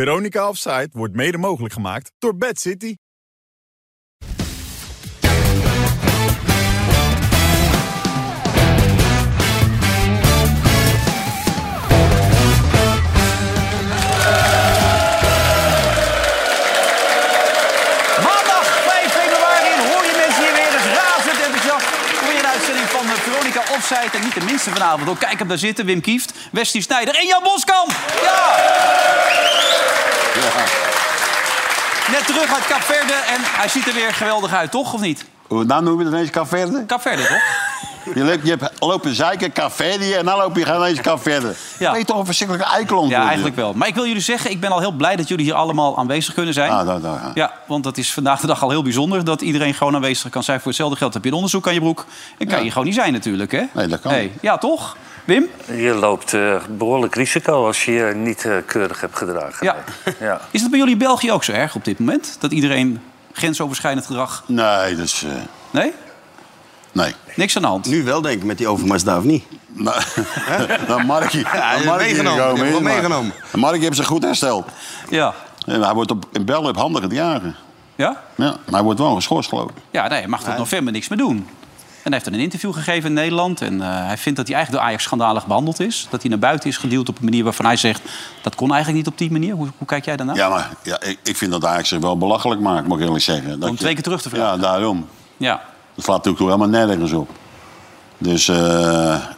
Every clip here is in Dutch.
Veronica Offside wordt mede mogelijk gemaakt door Bad City. Maandag 5 februari hoor je mensen hier weer. Het is razend enthousiast. Kom weer een uitzending van eh, Veronica Offside. En niet de minste vanavond. Ook kijk hem daar zitten. Wim Kieft, Westie Snijder en Jan Boskamp. Ja! Net terug uit Capverde en hij ziet er weer geweldig uit, toch? Of niet? Hoe dan noem je het ineens caferde? Capverde, toch? Je, loopt, je hebt- loopt een zeiken caferde en dan loop je gewoon ineens caferde. Ja. Ben je toch een verschrikkelijke eikel aan het Ja, worden? eigenlijk wel. Maar ik wil jullie zeggen, ik ben al heel blij dat jullie hier allemaal aanwezig kunnen zijn. Ah, dat- dat- ja. Ja, want dat is vandaag de dag al heel bijzonder dat iedereen gewoon aanwezig kan zijn. Voor hetzelfde geld heb je een onderzoek aan je broek. En kan Ja. je gewoon niet zijn natuurlijk, hè? Nee, dat kan. Ja, toch? Wim? Je loopt eh, behoorlijk risico als je je niet eh, keurig hebt gedragen. Ja. Nee. ja. Is dat bij jullie in België ook zo erg op dit moment? Dat iedereen grensoverschrijdend gedrag... Nee, dat is... eh, Nee? nee. Niks aan de hand. Nu wel, denk ik, met die overmars daar, of niet? Nou, dat Markie. hij dat is Markie hier gekomen meegenomen. Hij heeft is, wel maar- meegenomen. Markie heeft zich goed hersteld. Ja. En hij wordt op, in België op handen gedragen. Ja? Ja, maar hij wordt wel geschorst, geloof ik. Ja, nee, hij mag tot november niks meer doen. En hij heeft dan een interview gegeven in Nederland. En eh, hij vindt dat hij eigenlijk door Ajax schandalig behandeld is. Dat hij naar buiten is geduwd op een manier waarvan hij zegt... dat kon eigenlijk niet op die manier. Hoe, hoe kijk jij daarnaar? Ja, maar ja, ik, ik vind dat Ajax zich wel belachelijk maakt, moet ik eerlijk zeggen. Dat Om twee keer terug te vragen. Ja, daarom. Ja. Dat slaat natuurlijk helemaal nergens op. Dus eh,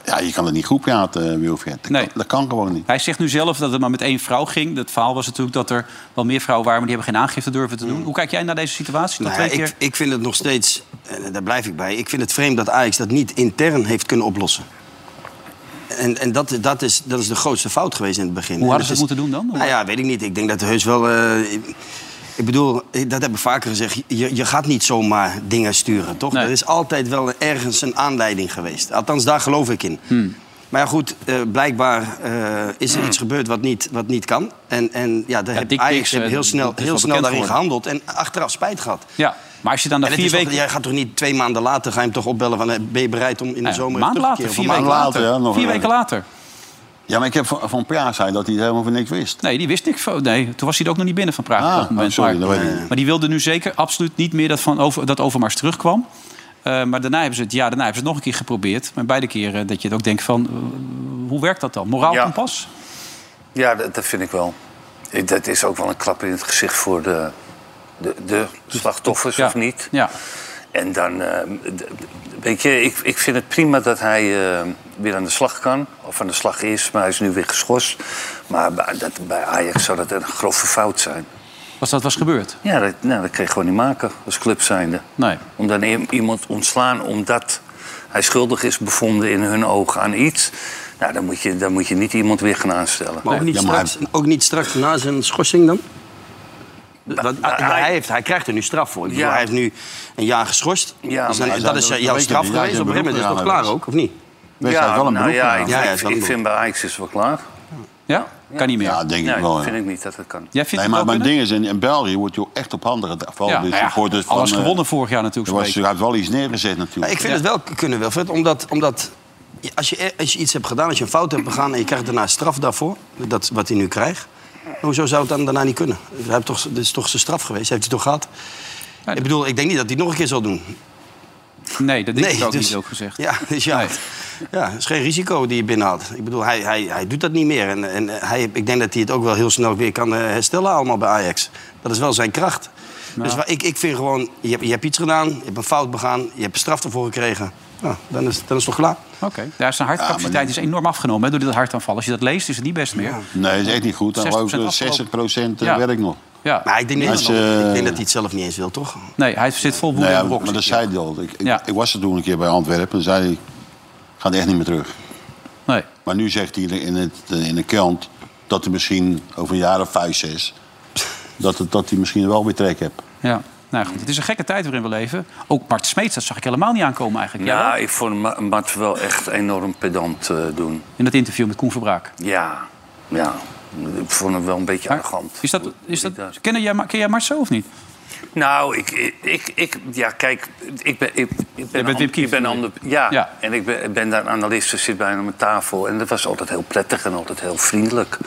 ja, je kan het niet goed praten, eh, Wilfred. Dat, Nee. kan, dat kan gewoon niet. Hij zegt nu zelf dat het maar met één vrouw ging. Dat verhaal was natuurlijk dat er wel meer vrouwen waren... maar die hebben geen aangifte durven te Hmm. doen. Hoe kijk jij naar deze situatie? Dat Nou, twee ik, keer... ik vind het nog steeds, en daar blijf ik bij... ik vind het vreemd dat Ajax dat niet intern heeft kunnen oplossen. En, en dat, dat, is, dat is de grootste fout geweest in het begin. Hoe hadden En ze het is- moeten doen dan? Nou ja, weet ik niet. Ik denk dat er heus wel... eh, ik bedoel, dat heb ik vaker gezegd. Je, je gaat niet zomaar dingen sturen, toch? Nee. Er is altijd wel ergens een aanleiding geweest. Althans, daar geloof ik in. Hmm. Maar ja, goed, eh, blijkbaar eh, is er iets gebeurd wat niet, wat niet kan. En, en ja, daar dick heeft pics, Ajax heeft eh, heel snel, dat is wel heel snel bekend daarin geworden. gehandeld. En achteraf spijt gehad. Ja, maar als je dan na En het vier is toch- weken... jij gaat toch niet twee maanden later ga je hem toch opbellen van eh, ben je bereid om in de Ja, zomer maand terug te later, keren? vier Of een weken maand later. later, ja, nog vier een- weken later. Ja, maar ik heb van, van Praag zei dat hij het helemaal van niks wist. Nee, die wist niks van. Nee, toen was hij er ook nog niet binnen van Praag. Ah, op dat moment. oh, sorry, maar, dat weet ik niet. maar die wilde nu zeker absoluut niet meer dat, van over, dat Overmars terugkwam. Eh, maar daarna hebben ze het, ja, daarna hebben ze het nog een keer geprobeerd. Maar beide keren dat je het ook denkt van, eh, hoe werkt dat dan? Moraal Ja. kompas? Ja, dat, dat vind ik wel. Ik- Dat is ook wel een klap in het gezicht voor de, de, de slachtoffers, Ja. of niet? Ja. En dan, eh, d- d- weet je, ik, ik vind het prima dat hij eh, weer aan de slag kan. Of aan de slag is, maar hij is nu weer geschorst. Maar bij, dat, bij Ajax zou dat een grove fout zijn. Was dat was gebeurd? Ja, dat, nou, dat kun je gewoon niet maken als club zijnde. Nee. Om dan i- iemand ontslaan omdat hij schuldig is bevonden in hun ogen aan iets. Nou, dan moet je, dan moet je niet iemand weer gaan aanstellen. Maar ook niet, Ja, maar hij- straks, ook niet straks na zijn schorsing dan? Dat, ah, hij- hij, heeft, hij krijgt er nu straf voor. Ik bedoel, Ja. Hij heeft nu een jaar geschorst. Ja, Dus dan- maar hij dat zou- is dat jouw weet je straf niet. Hij geweest. is Op een gegeven moment is een het toch beroep klaar gedaan ook, of niet? Wees ja, wel een nou beroep ja, ik, gedaan. Ja, ja, ik- is wel een ik beroep. vind bij Ajax is het wel klaar. Ja? Kan niet meer. Ja, denk ik nee, wel. ja. vind ik niet dat het kan. Jij vindt Nee, het maar wel mijn kunnen? ding is, in, in België wordt je echt op handen gedaan. Vooral Ja, de nou ja, supporters van, alles eh, gewonnen vorig jaar natuurlijk. Er was, zo'n hij heeft wel iets neergezet Maar natuurlijk. ik vind het wel kunnen, Wilfred. Omdat, omdat je- als, je, e- als je iets hebt gedaan, als je een fout hebt begaan... en je krijgt daarna straf daarvoor, dat, wat hij nu krijgt... hoezo zou het dan daarna niet kunnen? Hij heeft toch, dit is toch zijn straf geweest? Heeft hij toch gehad? dat- Ik bedoel, ik denk niet dat hij het nog een keer zal doen. week. Nee, dat denk ik ook dus- niet ook gezegd. Ja, dus ja, Nee. ja, het is geen risico die je binnenhaalt. Ik bedoel, hij, hij, hij doet dat niet meer. En, en hij, ik denk dat hij het ook wel heel snel weer kan eh, herstellen allemaal bij Ajax. Dat is wel zijn kracht. Dus wa- ik, ik vind gewoon, je hebt, je hebt iets gedaan, je hebt een fout begaan... je hebt een straf ervoor gekregen. Nou, dan is, dan is het toch klaar. Oké. Ja, zijn hartcapaciteit is enorm afgenomen hè, door dit hartaanval. Als je dat leest, is het niet best meer. Ja. Nee, dat is echt niet goed. Dan 60% geloof ik eh, 60% afgelopen. eh, Ja. werk nog. Maar ik denk, niet Als dat- je- ik denk dat hij het zelf niet eens wil, toch? Nee, hij zit vol woede Nou ja, in de box. maar dat zei hij al. Ik, ik, Ja. ik was er toen een keer bij Antwerpen en zei hij, gaat echt niet meer terug. Nee. Maar nu zegt hij in, het, in de krant dat hij misschien over een jaar of vijf, zes... dat, het, dat hij misschien wel weer trek hebt. Ja. Nou goed, het is een gekke tijd waarin we leven. Ook Mart Smeets, dat zag ik helemaal niet aankomen eigenlijk. Ja. Ja, Nou, ik vond Ma- Mart wel echt enorm pedant eh, doen. In dat interview met Koen Verbraak. Ja, ja. Ik vond hem wel een beetje Maar arrogant. Is dat, Hoe- hoe is die daar- dat, ken, jij, Ma- ken jij Mart zo of niet? Nou, ik, ik, ik, ik- ja, kijk, ik ben, ik, ik ben, bent Wim an- ik ben Kieft. ander, ja, Ja. en ik Hmm. ben, ik ben daar een analist, dus zit bij hem aan mijn tafel. En dat was altijd heel prettig en altijd heel vriendelijk.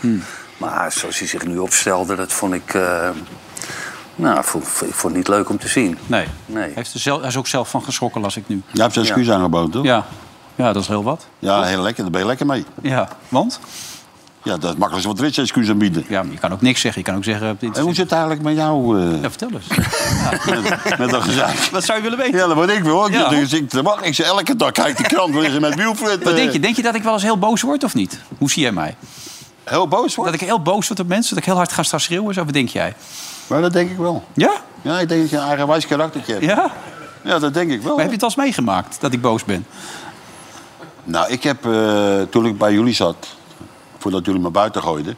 Maar zoals hij zich nu opstelde, dat vond ik... eh, nou, vond, vond- ik vond het niet leuk om te zien. Nee. Nee. Hij, heeft er zelf, hij is ook zelf van geschrokken, las ik nu. Jij hebt zijn excuus aangeboden, toch? Ja. Ja. ja, dat is heel wat. heel lekker. Daar ben je lekker mee. Ja, want? Ja, dat is makkelijk wat Rits excuus aanbieden. Ja, maar je kan ook niks zeggen. Je kan ook zeggen... Dit En hoe is... zit het eigenlijk met jou, eh, Ja, vertel eens. met, met dat gezeik? wat zou je willen weten? Ja, dat word ik wel. Ik, Ja. ja. ik, te wachten. ik zeg elke dag, kijk de krant, waar is er met Wilfred? Wat eh, denk je? Denk je dat ik wel eens heel boos word of niet? Hoe zie jij mij? Heel boos Dat wordt. ik heel boos word op mensen? Dat ik heel hard ga staan schreeuwen? Zo, wat denk jij? Maar dat denk ik wel. Ja? Ja, ik denk dat je een eigenwijs karaktertje hebt. Ja, Ja? dat denk ik wel. Maar heb je het als meegemaakt, dat ik boos ben? Nou, ik heb, eh, toen ik bij jullie zat, voordat jullie me buiten gooiden...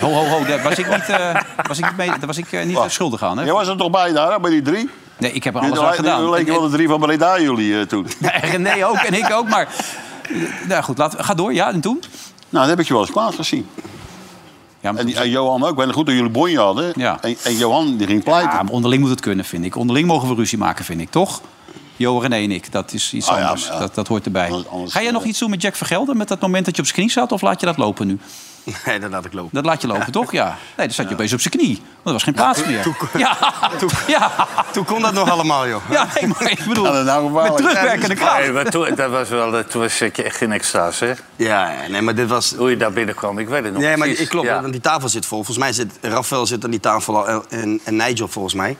Ho, ho, ho, daar was ik niet, eh, was ik niet, mee, daar was ik, eh, niet Wacht. schuldig aan, hè? Jij was er toch bij daar, bij die drie? Nee, ik heb er Nu alles aan nu gedaan. leken wel de drie van Breda jullie eh, toen. En- en- nee, ook, en ik ook, maar... Nou goed, laat, ga door, ja, en toen? Nou, dat heb ik je wel eens kwaad gezien. Ja, maar, En, die- en Johan ook. Ik weet nog goed dat jullie bonje hadden. Ja. En, en Johan die ging pleiten. ja, maar onderling moet het kunnen, vind ik. Onderling mogen we ruzie maken, vind ik, toch? Jo, René en ik, dat is iets Ah, ja, anders. ja. Dat, dat hoort erbij. Anders- anders- Ga jij nog iets doen met Jack Vergelden, met dat moment dat je op zijn knie zat? Of laat je dat lopen nu? Nee, dat laat ik lopen. Dat laat je lopen, toch? Ja. Nee, dan zat je opeens op zijn knie. Want er was geen plaats meer. ja. ja. Nou, Toen kon dat nog allemaal, joh. Ja, nee, maar ik bedoel, Ja, dat nou met gevaarlijk. terugwerkende kracht. Nee, maar toen, dat was wel, eh, toen zat je echt in extase, hè? Ja, nee, maar dit was... Hoe je daar binnenkwam, ik weet het nog Nee, maar precies. ik klopt, Ja. want die tafel zit vol. Volgens mij zit Rafael zit aan die tafel al en- en, en Nigel volgens mij.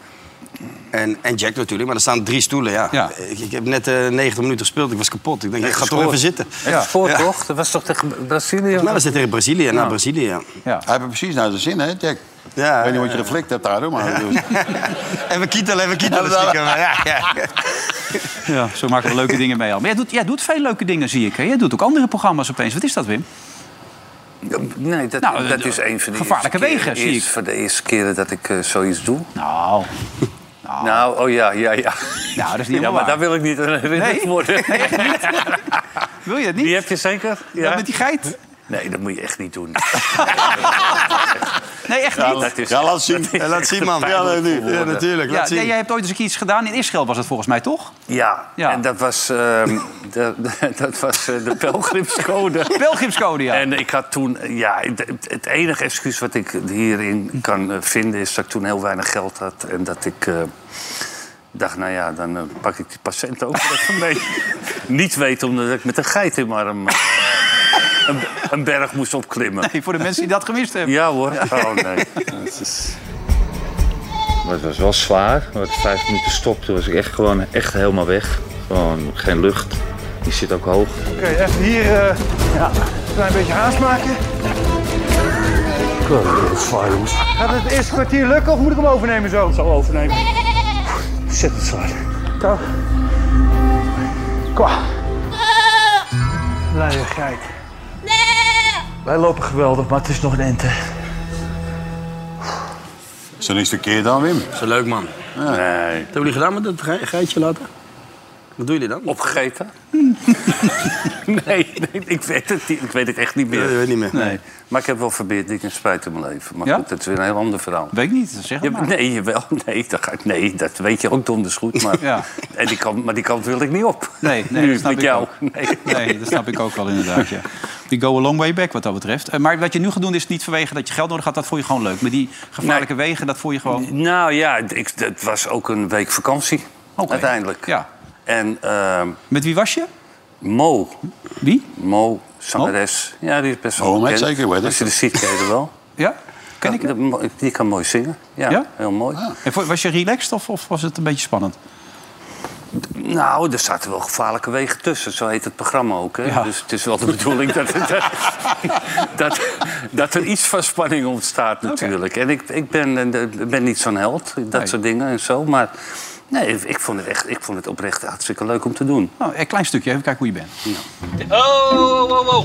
En, en Jack natuurlijk, maar er staan drie stoelen, ja. Ja. Ik, ik heb net eh 90 minuten gespeeld, ik was kapot. Ik denk, ik ga toch gescoord. even zitten. Het spoor, toch? Dat was toch tegen Brazilië? Nou, we zitten in Brazilië, naar Brazilië, ja. Ja. Hij heeft het precies naar de zin, hè, Jack? Ja, ik weet niet wat ja, je geflikt hebt daar, hoor, maar... Even kietelen, even kietelen. stiekem. Ja, ja. ja, zo maken we leuke dingen mee al. Maar jij doet, jij doet veel leuke dingen, zie ik. Hè? Jij doet ook andere programma's opeens. Wat is dat, Wim? Nee, dat, Nou, dat eh, is een van de gevaarlijke eerste wegen, keer- zie eerst- ik. Van de eerste keren dat ik eh, zoiets doe. Nou, Nou, oh ja, ja, ja. nou dat is niet Ja, helemaal maar waar. daar wil ik niet aan herinnerd Nee? worden. Wil je het niet? Die heb je zeker? Ja, Ja. met die geit? Nee, dat moet je echt niet doen. Nee, echt niet. Dat is- Ja, laat zien. Ja, laat zien, man. Ja, pijnlijk nee, voor ja, woorden. natuurlijk, Ja, laat nee, zien. jij hebt ooit eens een keer iets gedaan. In Israël was dat volgens mij, toch? Ja, Ja. en dat was, ehm, dat, dat was eh, de pelgrimscode. Belgiumscode, ja. En ik had toen, eh, ja, het- het enige excuus wat ik hierin kan eh, vinden is dat ik toen heel weinig geld had. En dat ik eh, dacht, nou ja, dan eh, pak ik die patiënt ook even mee. Niet weten omdat ik met een geit in mijn arm eh, een, een berg moest opklimmen. Nee, voor de mensen die dat gemist hebben. Ja hoor. Oh nee. Maar het was wel zwaar. Maar het vijf minuten stopte, was ik echt gewoon echt helemaal weg. Gewoon geen lucht. Die zit ook hoog. Oké, even hier eh, een klein beetje haast maken. Gaat het eerste kwartier lukken of moet ik hem overnemen zo? Ik zal overnemen. Zet het zwaar. Kom. Kwa. Leiden geit. Wij lopen geweldig, maar het is nog een ente. Is er niks verkeerd dan, Wim? Dat is leuk, man. nee. Wat hebben jullie gedaan met dat ge- geitje laten? Wat doen jullie dan? Opgegeten? nee, nee, ik weet het niet. Ik weet het echt niet Ja, dat weet meer. ik niet meer. Nee, Maar ik heb wel verbeerd dingen spijt in mijn leven. Maar Ja? goed, dat is weer een heel ander verhaal. weet ik niet. Zeg Ja, het maar. maar nee, jawel. Nee, dat ga ik, nee, dat weet je ook donders goed. Maar, Ja. en die kant, maar die kant wil ik niet op. Nee, nee, nu dat snap met ik jou. ook. Nee. Nee, dat snap ik ook wel inderdaad, ja. Die go a long way back wat dat betreft. Eh, Maar wat je nu gaat doen is niet vanwege dat je geld nodig had. Dat vond je gewoon leuk. Maar die gevaarlijke wegen, dat vond je gewoon... Nou ja, ik, het was ook een week vakantie. Oké. Uiteindelijk. Ja. En ehm, Met wie was je? Mo, Wie? Mo, zangeres. Ja, die is best wel Mo, bekend. met zeker, weet ik. Als je de ziet, ken je er wel. Ja? Ken ik Ja, hem? dat- Die kan mooi zingen. Ja, Ja? Ah. heel mooi. En vo- was je relaxed of, of was het een beetje spannend? Nou, er zaten wel gevaarlijke wegen tussen. Zo heet het programma ook. Hè? Ja. Dus het is wel de bedoeling dat, dat, dat, dat er iets van spanning ontstaat natuurlijk. En ik, ik ben, eh, ik ben niet zo'n held, dat Nee. soort dingen en zo. Maar nee, ik, ik vond het echt, ik vond het oprecht hartstikke leuk om te doen. Nou, een klein stukje. Even kijken hoe je bent. Oh, wow, wow.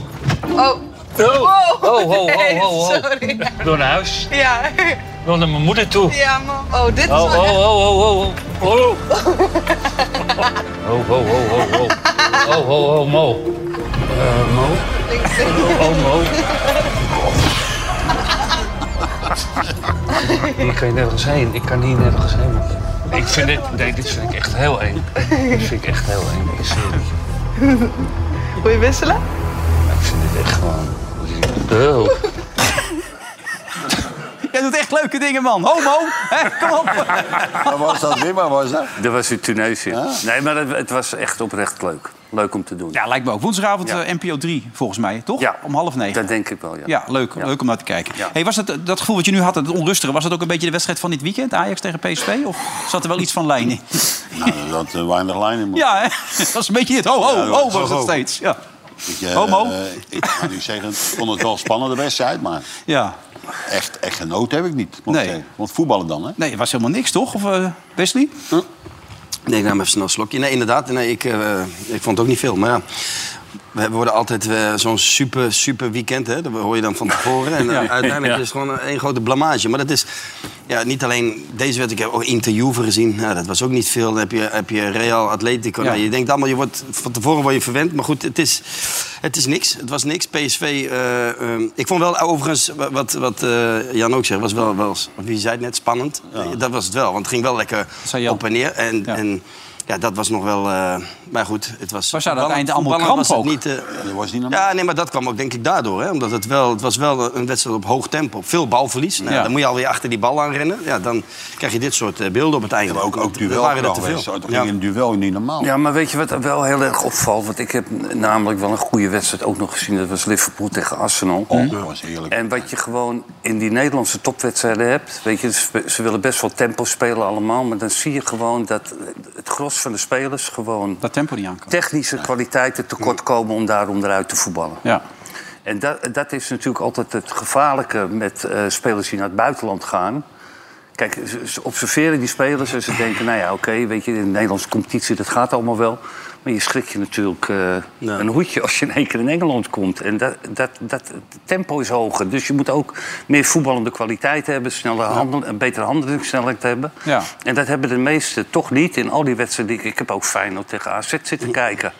Oh. Oh, ho, ho, ho, ho. Sorry. Door naar huis. Ja, Door naar mijn moeder toe. ja, man. Oh, dit is Oh, wel oh, echt... oh, oh, oh, oh. Oh, oh, oh, oh, oh. Oh, oh, oh, Mo. Eh, Mo? Oh, oh, Mo. Hier kan je nergens heen. Ik kan hier nergens heen. Ik vind dit... Nee, dit vind ik echt heel eng. Dit vind ik echt heel eng. Ik zweer het je. Wil je wisselen? Ik vind dit echt gewoon... Oh. doet echt leuke dingen, man. Homo, hè, kom op. Waar was dat? Wim, waar was dat? Dat was in Tunesië. Nee, maar het, het was echt oprecht leuk. Leuk om te doen. Ja, lijkt me ook. Woensdagavond Ja. eh, NPO 3, volgens mij, toch? Ja. Om half negen. Dat denk ik wel, ja. Ja, leuk, leuk om naar te kijken. Hey, was dat, dat gevoel wat je nu had, het onrustige... was dat ook een beetje de wedstrijd van dit weekend? Ajax tegen PSV? Of zat er wel iets van lijn in? Nou, er zat eh, weinig lijn in. moet- Ja, hè? dat was een beetje het. Ho, ho, Ja, ho, was ho, het ho. steeds. Ja. Ik, eh, Homo. eh, ik ga nu zeggen, ik vond het wel spannende wedstrijd, maar ja. echt, echt genoten heb ik niet. Want, Nee. eh, want voetballen dan, hè? Nee, het was helemaal niks, toch? Of eh, Wesley? Nee, ik nam even snel een slokje. Nee, inderdaad. Nee, ik, eh, ik vond het ook niet veel. Maar ja, we worden altijd eh, zo'n super, super weekend. Hè? Dat hoor je dan van tevoren. En eh, uiteindelijk is het gewoon één grote blamage. Maar dat is ja, niet alleen deze wedstrijd. Ik heb ook Interviewer gezien. Nou, dat was ook niet veel. Dan heb je, heb je Real Atletico. Ja. Nou, je denkt allemaal, je wordt, van tevoren word je verwend. Maar goed, het is, het is niks. Het was niks. PSV. eh, eh, ik vond wel overigens, wa- wat, wat eh, Jan ook zegt, was wel, wel wie zei het net, spannend. Dat was het wel. Want het ging wel lekker zei Jan. op en neer. En, Ja. en ja, dat was nog wel. eh, maar goed, het was. Maar ze hadden aan het einde allemaal voetballen kramp was het niet, eh, Dat was niet normaal. ja, nee, maar dat kwam ook denk ik daardoor. Hè? Omdat het wel, het was wel een wedstrijd op hoog tempo. Veel balverlies. Nou, Ja. Dan moet je alweer achter die bal aan rennen. Ja, dan krijg je dit soort eh, beelden op het einde. Ja, maar ook, ook Er duel. waren er wel te geweest. veel. Zo, Toch Ja. ging een duel niet normaal. Ja, maar weet je wat wel heel erg opvalt? Want ik heb namelijk wel een goede wedstrijd ook nog gezien. Dat was Liverpool tegen Arsenal. Mhm. Mhm. Oh, dat was heerlijk. Hm? En wat je gewoon in die Nederlandse topwedstrijden hebt... Weet je, ze- ze willen best wel tempo spelen allemaal... maar dan zie je gewoon dat het gros van de spelers gewoon... Dat tempo niet aankomt. technische kwaliteiten tekortkomen om daarom eruit te voetballen. Ja. En dat, dat is natuurlijk altijd het gevaarlijke met eh, spelers die naar het buitenland gaan. Kijk, ze, ze observeren die spelers en ze denken... nou ja, oké, weet je, in de Nederlandse competitie, dat gaat allemaal wel. Maar je schrik je natuurlijk eh, een hoedje als je in één keer in Engeland komt. En dat, dat, dat het tempo is hoger. Dus je moet ook meer voetballende kwaliteit hebben... Sneller handel, een betere handelingssnelheid hebben. Ja. En dat hebben de meesten toch niet in al die wedstrijden. die ik- Ik heb ook Feyenoord tegen AZ zitten kijken.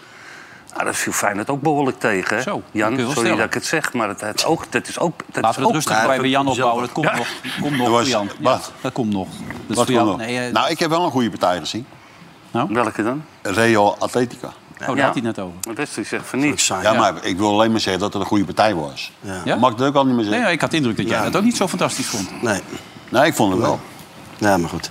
Nou, dat viel Feyenoord ook behoorlijk tegen. hè? Zo, dat kun Jan, je wel sorry stellen. dat ik het zeg, maar dat, dat, ook, dat is ook... Laten Dat we is het ook rustig bij, bij Jan opbouwen. Dat komt nog. Dat komt nog, Er was- voor Jan. Ja, wat? Dat komt nog. Dat is Wat voor kon Jan. nog? Nee, eh, Nou, ik heb wel een goede partij gezien. Welke dan? Real Atletico. oh, daar Ja. had hij het net over. Wesley zegt van niet. Saai. Ja, maar ik wil alleen maar zeggen dat het een goede partij was. Ja? Mag ik dat ook al niet meer Nee, zeggen? maar ik had de indruk dat jij dat ook niet zo fantastisch vond. Nee. Nee, ik vond het wel. Ja, maar goed.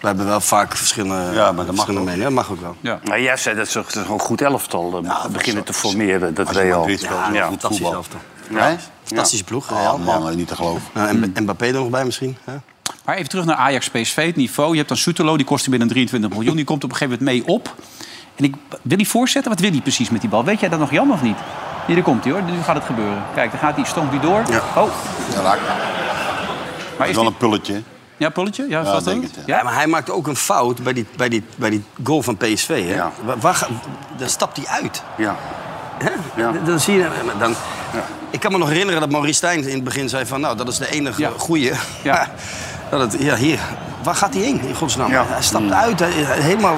We hebben wel vaak verschillende, Ja, maar dat mag verschillende ook. meningen. Dat mag ook wel. Ja. Maar jij zei dat ze dat ze gewoon goed elftal eh, Nou, dat beginnen is- te formeren, dat Als je Real. Madrid speelt, Ja, is wel ja, goed fantastisch voetbal. elftal. Hè? Fantastische ploeg. Ja, Oh, Real. man, niet te geloven. Nou, en en Mbappé er nog bij misschien. Hè? Maar even terug naar Ajax PSV, het niveau. Je hebt dan Soetelo, die kostte binnen 23 miljoen. Die komt op een gegeven moment mee op. En ik, wil hij voorzetten? Wat wil hij precies met die bal? Weet jij dat nog, Jan, of niet? Hier, daar komt hij, hoor. Nu gaat het gebeuren. Kijk, daar gaat hij, stoomt hij door. Ja. Oh, Ja, raak. Het maar is is wel dit... een pulletje. Ja, Polletje? Ja, is dat denk het? het, Ja, maar hij maakt ook een fout bij die, bij die, bij die goal van PSV. Hè? Ja. Waar, waar ga- daar stapt hij uit. Ja. Hè? Ja. Dan- Dan zie je, maar dan, Ik kan me nog herinneren dat Maurice Stijn in het begin zei van... nou, dat is de enige Ja. goeie. Ja. dat het, ja, hier. Waar gaat hij heen, in godsnaam? Ja. Hij stapt uit, hij, hij- helemaal...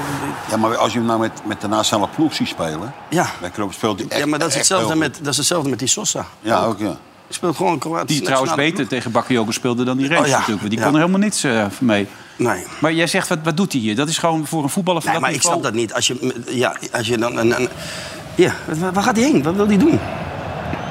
Ja, maar als je hem nou met, met de nationale ploeg ziet spelen... Ja. Dan klopt- speelt hij echt ja, maar dat is, echt hetzelfde heel met, goed. dat is hetzelfde met die Sosa. Ja, ook ja. Hij speelt gewoon een Kroatisch Die trouwens nationale beter tegen Bakayoko speelde dan die Rens Oh, ja. natuurlijk. Want die Ja. kon er helemaal niets eh, van mee. ploeg. Nee. Maar jij zegt, wat, wat doet hij hier? Dat is gewoon voor een voetballer van Nee, dat maar ik niveau- snap dat niet. Als je, ja, als je dan een, een- ja, waar- waar gaat hij heen? Wat wil hij doen?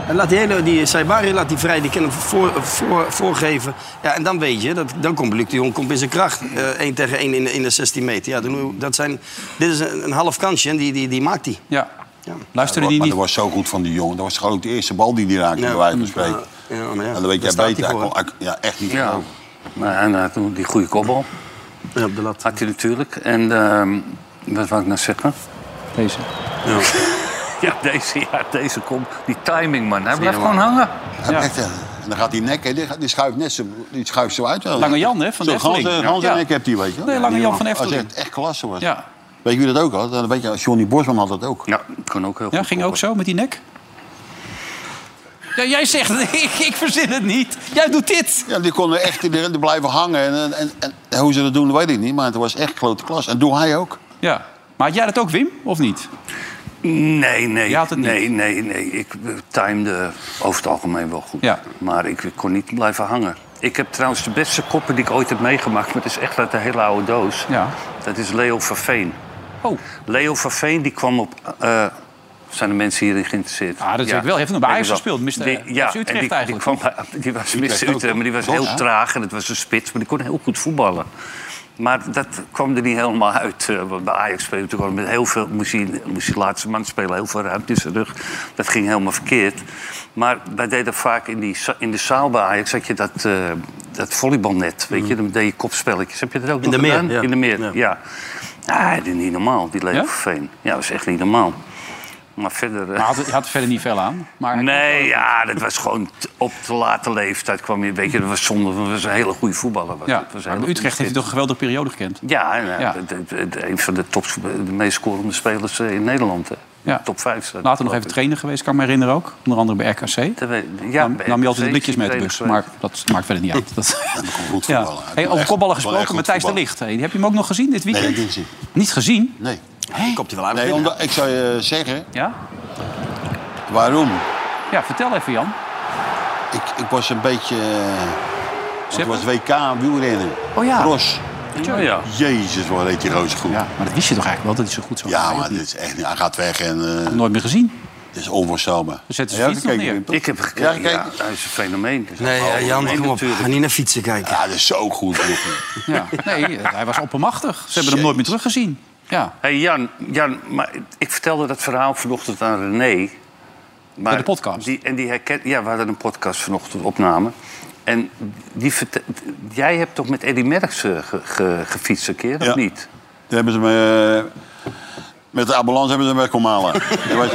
En laat die hele, die Saibari laat die vrij, die kan hem voor, voor, voorgeven. Ja, en dan weet je, dat, dan komt Luc de Jong komt in zijn kracht. Eén tegen één in, de- in de 16 meter. Ja, dan- dat zijn, dit is een, een half kansje en die, die, die maakt hij. Ja. Ja. Luisterde die Maar niet? dat was zo goed van die jongen. Dat was gewoon ook de eerste bal die die raakte, Ja. bij wijze van spreken. Ja, ja, maar en dan ja, weet daar jij staat beter. hij Hij voor, kon, hij- ja, echt niet ja. geloven. Maar en, eh, toen die goede kopbal Ja, op de lat. had hij natuurlijk. En ehm, wat wou ik nou zeggen? Deze. Ja, deze, ja, deze komt. Die timing, man. Hij blijft gewoon hangen. Ja. Echt, eh, en dan gaat die nek, hè, die, gaat- die schuift net zo, die schuift zo uit. wel. Lange Jan, hè, van de Zo'n ganse- Efteling. ganse Ja. nek heeft die, weet je wel. Nee, Lange Jan van Als Efteling. het echt klasse was. Ja. Weet je wie dat ook had? Dan Weet je, Johnny Bosman had dat ook. Ja, kon ook heel Ja, goed ging ook zo met die nek? Ja, jij zegt het, ik, ik verzin het niet. Jij doet dit. Ja, die konden echt die, die blijven hangen. En, en, en, en hoe ze dat doen, weet ik niet. Maar het was echt grote klas. En doe hij ook. Ja. Maar had jij dat ook, Wim? Of niet? Nee, nee. Je had het niet. nee, nee, nee. Ik eh, timede over het algemeen wel goed. Ja. Maar ik, ik kon niet blijven hangen. Ik heb trouwens de beste koppen die ik ooit heb meegemaakt. Maar het is echt uit de hele oude doos. Ja. Dat is Leo van Veen. Oh, Leo van Veen die kwam op eh, zijn de mensen hierin geïnteresseerd. Ah, dat weet ik wel. Hij heeft nog bij Ajax gespeeld, Mr. Die- ja, FC Utrecht en die, eigenlijk. Die, kwam, bij- die was Mr. Utrecht, maar die was heel traag en het was een spits. Maar die kon heel goed voetballen. Maar dat kwam er niet helemaal uit. eh, Want bij Ajax speelde hij natuurlijk al met heel veel... Moest hij, moest hij laatste man spelen, heel veel ruimte in zijn rug. Dat ging helemaal verkeerd. Maar wij deden vaak in, die, za- in de zaal bij Ajax... had je dat, eh dat volleybalnet, weet je. Mm. Dan deed je kopspelletjes. Heb je dat ook de nog meer, gedaan? ja. In de meer, Ja. ja. Ah, dat is niet normaal, die Leverveen. Ja? dat is echt niet normaal. Maar verder... eh, Maar had, had er verder niet veel aan. Maar Nee, ja, dat was gewoon t- op de late leeftijd kwam je. Weet je, dat was zonde. want Dat was een hele goede voetballer. Was ja, het. was een maar hele Utrecht heeft goede toch een geweldige periode gekend. spits. Ja, en, eh, Ja. de- de- de- een van de, top, de meest scorende spelers eh, in Nederland. hè. Ja. Top 5. staat Later nog hij, even trainer geweest, kan ik me herinneren ook. Onder andere bij RKC. geloof ik. Te we- Ja, nam, bij nam je altijd de RKC blikjes mee de trainer bus. geweest. Maar dat maakt verder niet uit. Dat, goed ja. voetballen. Hij kon Hey, over kopballen echt- kon echt gesproken, goed Matthijs de voetballen. Licht. Hey, die heb je hem ook nog gezien dit Nee, weekend? dat heb ik niet gezien. Niet gezien? Nee. Komt hij wel aan. nee omdat, ik zou je zeggen, Ja? waarom? ja, vertel even Jan. Ik, ik was een beetje... eh, want het was WK wielrennen. Oh ja. Cross. Ja, ja. Jezus, wat reed die roze goed. Ja, maar dat wist je toch eigenlijk wel dat hij zo goed zou zijn? maar dit is echt niet. Hij gaat weg en eh, het Nooit meer gezien. is onvoorstelbaar. Dan Dus zetten ze Ja, fiets nog dat kijk neer. ik Ik heb Ja, gekeken. Ja, gekeken. hij is een fenomeen. Oh, Nee, ja, Jan, nee, kom op. natuurlijk. Ga niet naar fietsen kijken. Ja, dat is zo goed. jongen. Ja. Nee, hij was oppermachtig. Ze hebben hem nooit meer teruggezien. Ja. Hey Jan, Jan maar ik vertelde dat verhaal vanochtend aan René. Maar de podcast? Die, en die herken, ja, we hadden een podcast vanochtend opname. En die verte- jij hebt toch met Eddy Merckx eh, ge- ge- gefietst een keer, Ja. of niet? Daar hebben ze me... eh, Met de ambulance hebben ze me komen halen. Er was-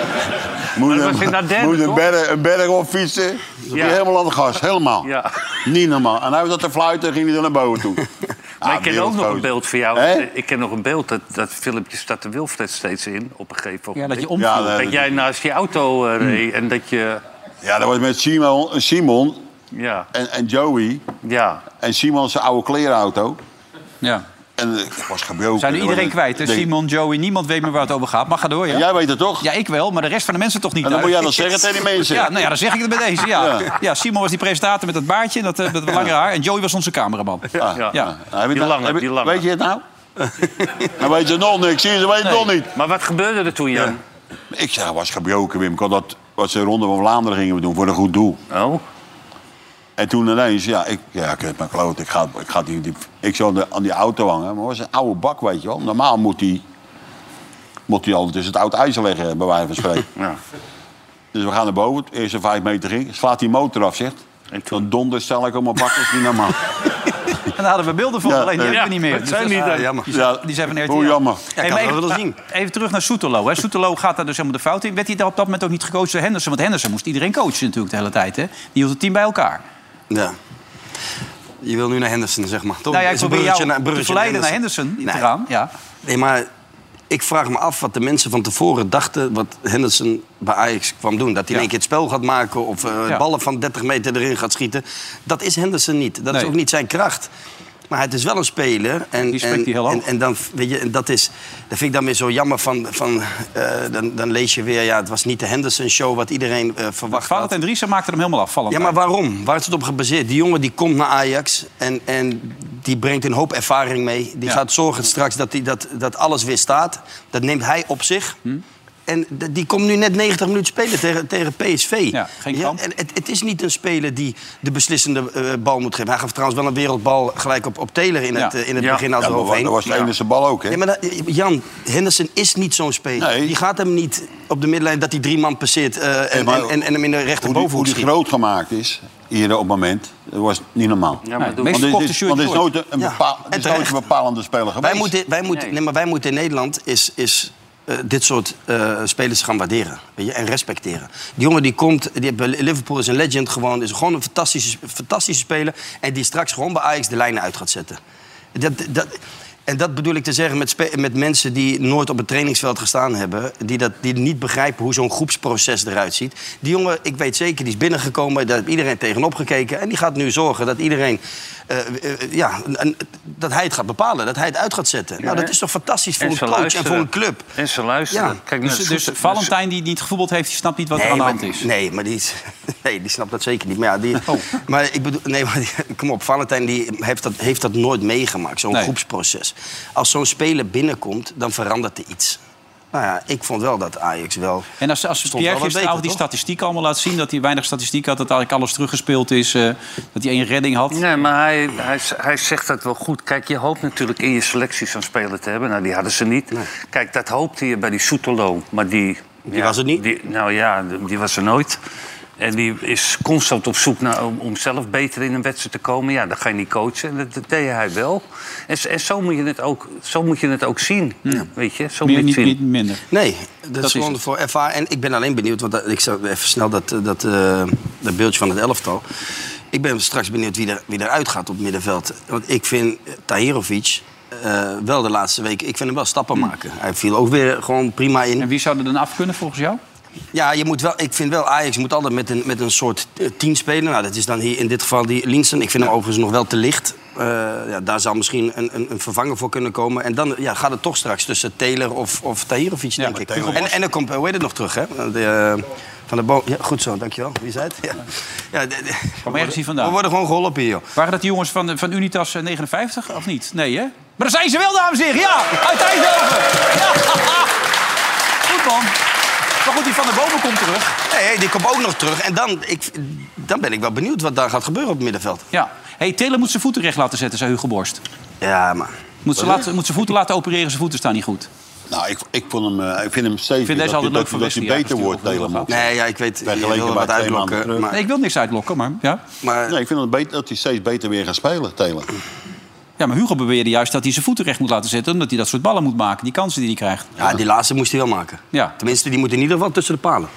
Moet, dat was in dat derde, moet een, toch? berg, een berg op fietsen. Ja. Helemaal aan de gas, helemaal. Ja. Niet normaal. En hij zat te fluiten ging hij dan naar boven toe. Ah, maar ik ken ook nog een beeld van jou. Hè? Ik ken nog een beeld, dat, dat filmpje staat de Wilfred steeds in op een gegeven moment. Ja, dat je omviel. Ja, dat- Dat jij naast je auto Hmm. eh, reed en dat je... Ja, dat was met Simon, Simon Ja, en, en Joey. ja. En Simon zijn oude klerenauto. Ja. En eh, ik was gebroken. Zijn nu Dat iedereen was- kwijt. hè? denk- Simon, Joey, niemand weet meer waar het over gaat. Maar ga door, ja. En Jij weet het toch? Ja, ik wel, maar de rest van de mensen toch niet. En dan hè? moet jij dat zeggen tegen die mensen. Ja, nou ja, dan zeg ik het bij deze. Ja. Ja. Ja. Simon was die presentator met dat baardje en dat, eh, dat lange haar. En Joey was onze cameraman. Ah, ja. ah. Heb je Die dat- lange, heb je- die lange. Weet je het nou? dan weet je nog niks. Zie je, ze weten het nog niet. Maar wat gebeurde er toen, Jan? Ik zeg, hij was gebroken, Wim. Ik had dat was een ronde van Vlaanderen gingen we doen voor een goed doel. Oh, En toen ineens, ja, ik, ja, ik heb mijn kloot. Ik, ga, ik, ga die, die- ik zou aan de- aan die auto hangen. Maar het was een oude bak, weet je wel. Normaal moet die, moet die al tussen het oud ijzer leggen, bij wijze van spreken. ja. Dus we gaan naar boven. De eerste vijf meter ging. Slaat die motor af, zegt. En toen donder stel ik op mijn bakkers niet normaal. En daar hadden we beelden van, Ja, alleen die ja. hebben we niet meer. Dat Dus zijn dat- niet, hè? jammer. Ja, die zijn van RTL. Hoe jammer. Ja, ik Hey, had maar het wel willen even, zien. even terug naar Soetelo. Hè. Soetelo gaat daar dus helemaal de fout in. Werd hij daar op dat moment ook niet gecoacht door Henderson? Want Henderson moest iedereen coachen natuurlijk de hele tijd. Hè. Die hield het team bij elkaar. Ja. Je wil nu naar Henderson, zeg maar. Toch? nou ja, ik Is een probeer jou bruggetje naar- te bruggetje verleiden naar Henderson, Nee. te gaan. Ja. Nee, maar ik vraag me af wat de mensen van tevoren dachten... wat Henderson bij Ajax kwam doen. Dat hij in één keer het spel gaat maken... of eh, Ja. ballen van 30 meter erin gaat schieten. Dat is Henderson niet. Dat Nee. is ook niet zijn kracht. Maar het is wel een speler. En, Die spreekt en, hij heel hoog. en, en dan, weet je, en dat, is, dat vind ik dan weer zo jammer. Van, van, eh, dan, dan lees je weer, ja, het was niet de Henderson-show... wat iedereen eh, verwacht had. Valentijn Driessen maakte hem helemaal af. Ja, Valentijn. maar waarom? Waar is het op gebaseerd? Die jongen die komt naar Ajax en, en die brengt een hoop ervaring mee. Die Ja. gaat zorgen straks dat, die, dat, dat alles weer staat. Dat neemt hij op zich. Hm. En d- die komt nu net 90 minuten spelen tegen, tegen PSV. Ja, geen kans. en het, het is niet een speler die de beslissende eh, bal moet geven. Hij gaf trouwens wel een wereldbal gelijk op, op Taylor in Ja. het, eh, in het Ja. begin Ja, als maar eroverheen. dat was de enige bal ook, hè? Ja, maar dat- Jan, Henderson is niet zo'n speler. Nee. Die gaat hem niet op de middenlijn dat hij drie man passeert... eh, en, maar en, en, en hem in Hoe die, de hoe rechterbovenhoek die schiet. groot gemaakt is, hier op het moment, dat was niet normaal. Ja, maar Nee, doe- meest Want verkochte er is, shirt want er is ooit. nooit een, Ja, bepaal, en er is nooit terecht. een bepalende speler geweest. Wij moeten, wij, moeten, nee. maar wij moeten in Nederland is, is, eh, dit soort eh, spelers gaan waarderen weet je, en respecteren. Die jongen die komt, die heeft bij Liverpool is een legend gewoon. Is gewoon een fantastische, fantastische speler. En die straks gewoon bij Ajax de lijnen uit gaat zetten. Dat, dat, en dat bedoel ik te zeggen met, spe- met mensen die nooit op het trainingsveld gestaan hebben. Die, dat, die niet begrijpen hoe zo'n groepsproces eruit ziet. Die jongen, ik weet zeker, die is binnengekomen. Daar heeft iedereen tegenop gekeken. En die gaat nu zorgen dat iedereen... eh, eh, ja, een- dat hij het gaat bepalen. Dat hij het uit gaat zetten. nou, dat is toch fantastisch voor En een ze coach en luisteren. voor een club. En ze luisteren. Ja. Kijk, nou, Dus, naar dus Soet- Valentijn die niet gevoetbald heeft, die snapt niet wat er aan de hand maar, is. Oh. Nee, maar die, is- nee, die snapt dat zeker niet. Maar, ja, die, maar ik bedoel, nee, maar die- kom op, Valentijn die heeft, dat, heeft dat nooit meegemaakt, zo'n Nee. groepsproces. Als zo'n speler binnenkomt, dan verandert er iets. Nou ja, ik vond wel dat Ajax wel... En als, als Stond wel Pierre wat beter, gisteravond die toch? statistiek allemaal laat zien... dat hij weinig statistiek had, dat eigenlijk alles teruggespeeld is... eh, dat hij één redding had. Nee, maar hij, hij, hij zegt dat wel goed. Kijk, je hoopt natuurlijk in je selectie zo'n speler te hebben. Nou, die hadden ze niet. Kijk, dat hoopte je bij die Soetelo. Maar die... Die was het niet? nou ja, die- die was er nooit. En die is constant op zoek naar, om, om zelf beter in een wedstrijd te komen. Ja, dan ga je niet coachen. En dat, dat deed hij wel. En, s- en zo, moet je het ook, zo moet je het ook zien. Weet je, zo moet Meer, je het niet, zien. niet minder. Nee, dat, is is gewoon het. voor ervaren. En ik ben alleen benieuwd, want dat- ik zou even snel dat, eh, dat, eh, dat beeldje van het elftal. Ik ben straks benieuwd wie, er, wie eruit gaat op het middenveld. Want ik vind eh, Tahirovic eh, wel de laatste weken, ik vind hem wel Hm. stappen maken. Hij viel ook weer gewoon prima in. En wie zou er dan af kunnen volgens jou? Ja, je moet wel, ik vind wel, Ajax moet altijd met een, met een soort eh, team spelen. Nou, dat is dan hier in dit geval die Linsen. Ik vind hem overigens nog wel te licht. Eh, ja, daar zou misschien een, een, een vervanger voor kunnen komen. En dan ja, gaat het toch straks tussen Taylor of, of Tahirovic, denk ik. En, en dan komt, eh, hoe heet het nog terug, hè? De, eh, van de boom. Ja, goed zo, dankjewel. Wie zei het? Ja. Ja, de- de- Kom ergens hier we vandaan. worden gewoon geholpen hier, joh. Waren dat die jongens van, van Unitas eh, 59 of niet? Nee, hè? Maar daar zijn ze wel, dames en heren. Ja, uit Eindhoven. Ja. Goed, man. Maar goed, die Van der Bomen komt terug. Nee, hey, die komt ook nog terug. En dan, ik, dan ben ik wel benieuwd wat daar gaat gebeuren op het middenveld. Ja. hey, Taylor moet zijn voeten recht laten zetten, zei Hugo Borst. Ja, maar... Moet ze laten, moet zijn voeten laten opereren, zijn voeten staan niet goed. Nou, ik, ik, vond hem, eh, ik vind hem steeds vind dat, deze altijd hij- leuk voor dat hij Wesley, ja, beter dat wordt, hij heel helemaal. goed Nee, ja, ik weet, je Vergeleken wil er bij wat twee maanden uitlokken. terug. Maar, Nee, ik wil niks uitlokken, maar... Ja, maar Nee, ik vind hem beter, dat hij steeds beter weer gaat spelen, Telen. ja maar Hugo beweerde juist dat hij zijn voeten recht moet laten zetten... omdat hij dat soort ballen moet maken, die kansen die hij krijgt. Ja, die laatste moest hij wel maken. Ja. Tenminste, die moet in ieder geval tussen de palen.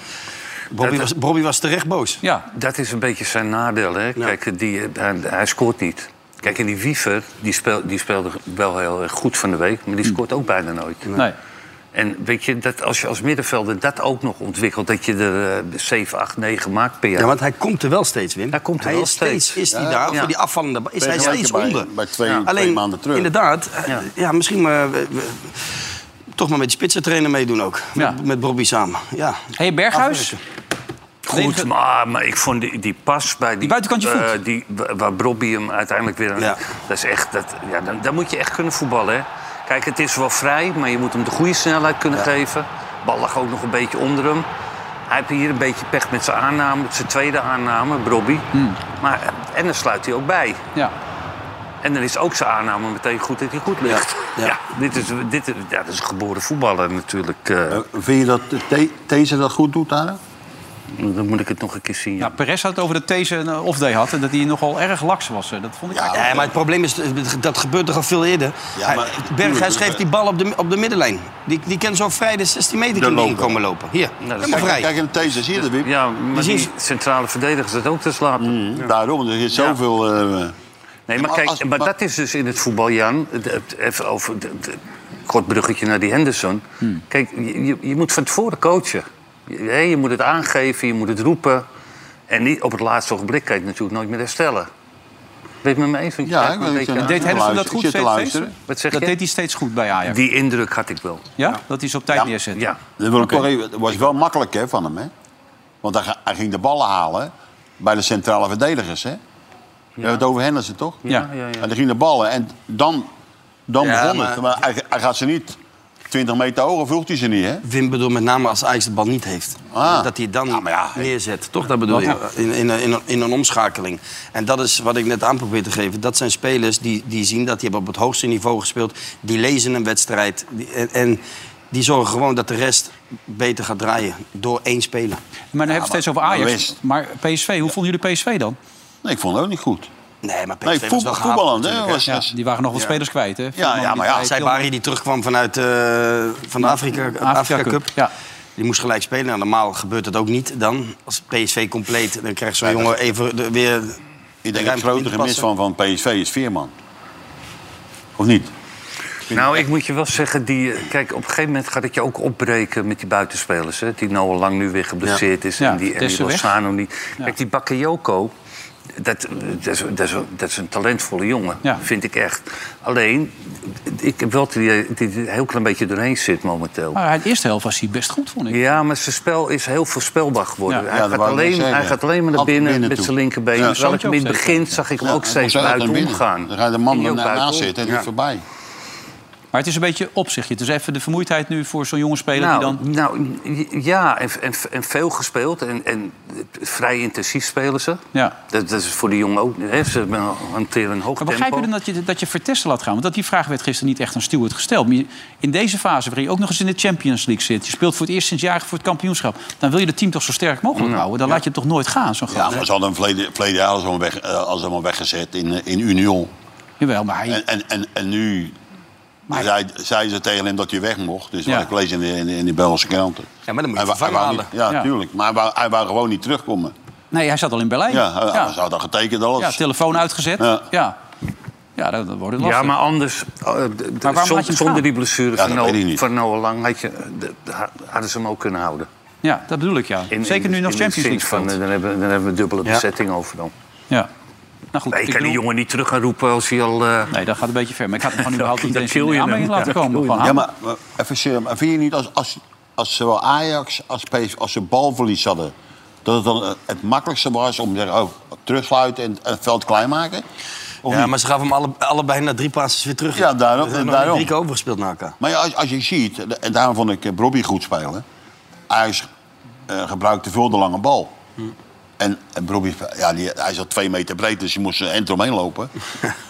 Bobby, Dat- was, Bobby was terecht boos. Ja, Dat is een beetje zijn nadeel, hè. Kijk, die, eh, hij, hij scoort niet. Kijk, en die Wiever, die, speel, die speelde wel heel erg goed van de week... maar die scoort ook bijna nooit. nee. En weet je, dat als je als middenvelder dat ook nog ontwikkelt... dat je er eh 7, 8, 9 maakt per jaar... Ja, want hij komt er wel steeds, Wim. Hij komt er wel is steeds. steeds. Is hij daar, ja. voor die afvallende... ba- Is hij Vergeleken steeds bij- onder. bij twee- twee Alleen, maanden terug. inderdaad, eh, Ja. ja, misschien maar, we- we- toch maar met die spitsentrainer meedoen ook. Ja. Met, met Bobby samen. Ja. hey, Berghuis? Goed, Levert- maar, maar ik vond die, die pas bij die... Die buitenkantje eh, voet. die, wa- waar Bobby hem uiteindelijk weer... aan- Ja. Dat is echt... Dat, ja, dan, dan moet je echt kunnen voetballen, hè. Kijk, het is wel vrij, maar je moet hem de goede snelheid kunnen geven. Bal lag ook nog een beetje onder hem. Hij heeft hier een beetje pech met zijn aanname, met zijn tweede aanname, Bobby. Maar, eh, en dan sluit hij ook bij. Ja. En dan is ook zijn aanname meteen goed dat hij goed ligt. Ja, Ja. dit, is, dit, is- ja, dat is een geboren voetballer natuurlijk. eh. vind je dat deze dat goed doet, daar? dan moet ik het nog een keer zien. Nou, Perez had het over dat These een eh, off-day had... en dat hij nogal erg laks was. eh. Dat vond ik... Ja, maar het probleem is, eh, dat gebeurt toch al veel eerder. Ja, Hij- maar- Berghuis geeft die bal op de, op de middenlijn. Die, die kan zo vrij de 16 meter De kunnen lopen. komen lopen. Hier, Nou, dat helemaal vrij. Kijk, kijk in deze zie je dat, Wim. Ja, maar Die die zien- centrale verdedigers dat ook te slapen. Daarom, er zit zoveel... eh, Nee, maar Maar kijk, Mm. als- maar maar- dat is dus in het voetbal, Jan. Het- het- Even over de- de- kort bruggetje naar die Henderson. Kijk, je, je- je moet van tevoren coachen. Je, hè, je moet het aangeven, je moet het roepen. En niet op het laatste ogenblik kan je het natuurlijk nooit meer herstellen. Weet je met me eens? Want je ja, kijkt ik me een weet beetje aan. Deed Henderson dat Ik goed zit te steeds? luisteren. steeds? Wat zeg dat je? deed hij steeds goed bij Ajax. Die indruk had ik wel. Ja? Dat hij ze op tijd neerzet. Ja. Dat wil ik toch even- het was wel makkelijk hè, van hem, hè? Want hij, ga- hij ging de ballen halen bij de centrale verdedigers, hè? We hebben het over Henderson, toch? Ja. En die ging de ballen en dan, dan Ja, begon het. maar- Maar hij, hij gaat ze niet 20 meter hoger, vroeg hij ze niet, hè? Wim bedoel met name als Ajax de bal niet heeft. Ah. Dat hij het dan Ja, maar ja, hey. neerzet. Toch, dat bedoel je? In, in, in, een- in een omschakeling. En dat is wat ik net aan probeer te geven. Dat zijn spelers die, die zien dat die hebben op het hoogste niveau gespeeld. Die lezen een wedstrijd. Die- en, en die zorgen gewoon dat de rest beter gaat draaien. Door één speler. Maar dan hebben we het steeds over maar Ajax. wist. Maar PSV, hoe vonden jullie PSV dan? Nee, ik vond het ook niet goed. Nee, maar PSV Nee, was voet- wel gehaald voetballen, hè? natuurlijk, hè. was- Ja, was- die waren nog wat spelers kwijt, hè? Ah, ja, maar ja, Zij Bari die terugkwam vanuit eh, van de Afrika, Afrika, Cup, Cup. ja. Die moest gelijk spelen. Nou, normaal gebeurt dat ook niet dan. Als PSV compleet, dan krijgt zo'n jongen even de- weer... Ik denk ruimte het grote in te gemis passen. van, van PSV is Veerman. Of niet? Nou, ik moet je wel zeggen, die, eh, kijk, op een gegeven moment gaat het je ook opbreken met die buitenspelers. Hè? Die Noah Lang nu weer geblesseerd is Ja, en die, en die Tessen weg. Lozano niet. Kijk, die Bakayoko, dat, eh, dat, is, dat, is, dat is een talentvolle jongen, Ja. vind ik echt. Alleen, ik heb wel het idee dat hij er een heel klein beetje doorheen zit momenteel. Ah. Maar in de eerste helft was hij best goed, vond ik. Ja, maar zijn spel is heel voorspelbaar geworden. Ja. hij, Ja, dat gaat wou ik alleen, net zeggen. hij gaat alleen maar naar Altijd binnen, binnen met toe. zijn linkerbeen. Ja. Terwijl ik Zandje hem in het ook begin zag ik hem ook Ja, steeds hij moest buiten naar binnen. omgaan. Dan ga je de man Ging hij ook ernaast buiten om? zitten en die Ja. is voorbij. Maar Maar het is een beetje opzichtje. Het is even de vermoeidheid nu voor zo'n jonge speler die dan... nou, ja, en, en, en veel gespeeld. En, en vrij intensief spelen ze. Ja. Dat, dat is voor de jongen ook. Hè. Ze hanteren een hoog Maar begrijp je nou tempo. dan dat je, dat je Vertessen laat gaan? Want dat, die vraag werd gisteren niet echt aan Stuart gesteld. Maar je- in deze fase, waarin je ook nog eens in de Champions League zit... je speelt voor het eerst sinds jaren voor het kampioenschap... dan wil je het team toch zo sterk mogelijk houden? Dan laat je het toch nooit gaan, zo'n Ja, gast? maar ze hadden hem verleden, verleden jaar al zo weg, eh, al helemaal weggezet in, eh, in Union. Jawel, maar Eh. hij... En, en, en, en nu zei, zei ze tegen hem dat hij weg mocht. Dus Ja. wat ik lees in de, in de, in de Belgische kranten. Ja, maar dan moet je Hij wou- hij vervangen wou halen. niet- ja, Ja. tuurlijk. Maar hij wou, hij wou gewoon niet terugkomen. Nee, hij zat al in Berlijn. Ja, hij, ja. hij had al getekend alles. Ja, telefoon uitgezet. Ja, Ja. ja. dat, dat wordt het lastig. Ja, maar anders. eh, d- waarom d- zon- laat je hem zonder gaan? die blessure Ja, van, dat weet ik Noah, niet. van Noah Lang had je, d- d- hadden ze hem ook kunnen houden. Ja, dat bedoel ik, ja. In- Zeker in de- nu nog in de Champions zin League van, speelt. eh, Dan hebben, dan hebben we dubbele Ja. bezetting over dan. Ja. Nou goed, Nee, ik kan die bedoel- jongen niet terug gaan roepen als hij al... eh, Nee, dat gaat een beetje ver. Maar ik had hem gewoon Dan- überhaupt niet dan eens kill in de je aanmerking hem. laten Ja, komen. kill je Gewoon Ja, aan- maar eh, even serieus. maar Vind je niet als, als, als zowel Ajax als PSV, als ze balverlies hadden... dat het dan eh, het makkelijkste was om te zeggen... oh, terugsluiten en het veld klein maken? Of Ja, niet? maar ze gaven hem alle, allebei na drie passes weer terug. Ja, daarom- We hebben nog daarom. niet Drie keer overgespeeld naar elkaar. Maar ja, als, als je ziet, en daarom vond ik eh, Brobbey goed spelen. Ajax eh gebruikt te veel de lange bal. Hm. En, en Brobbey, ja, die, hij zat twee meter breed, dus je moest er eind omheen lopen.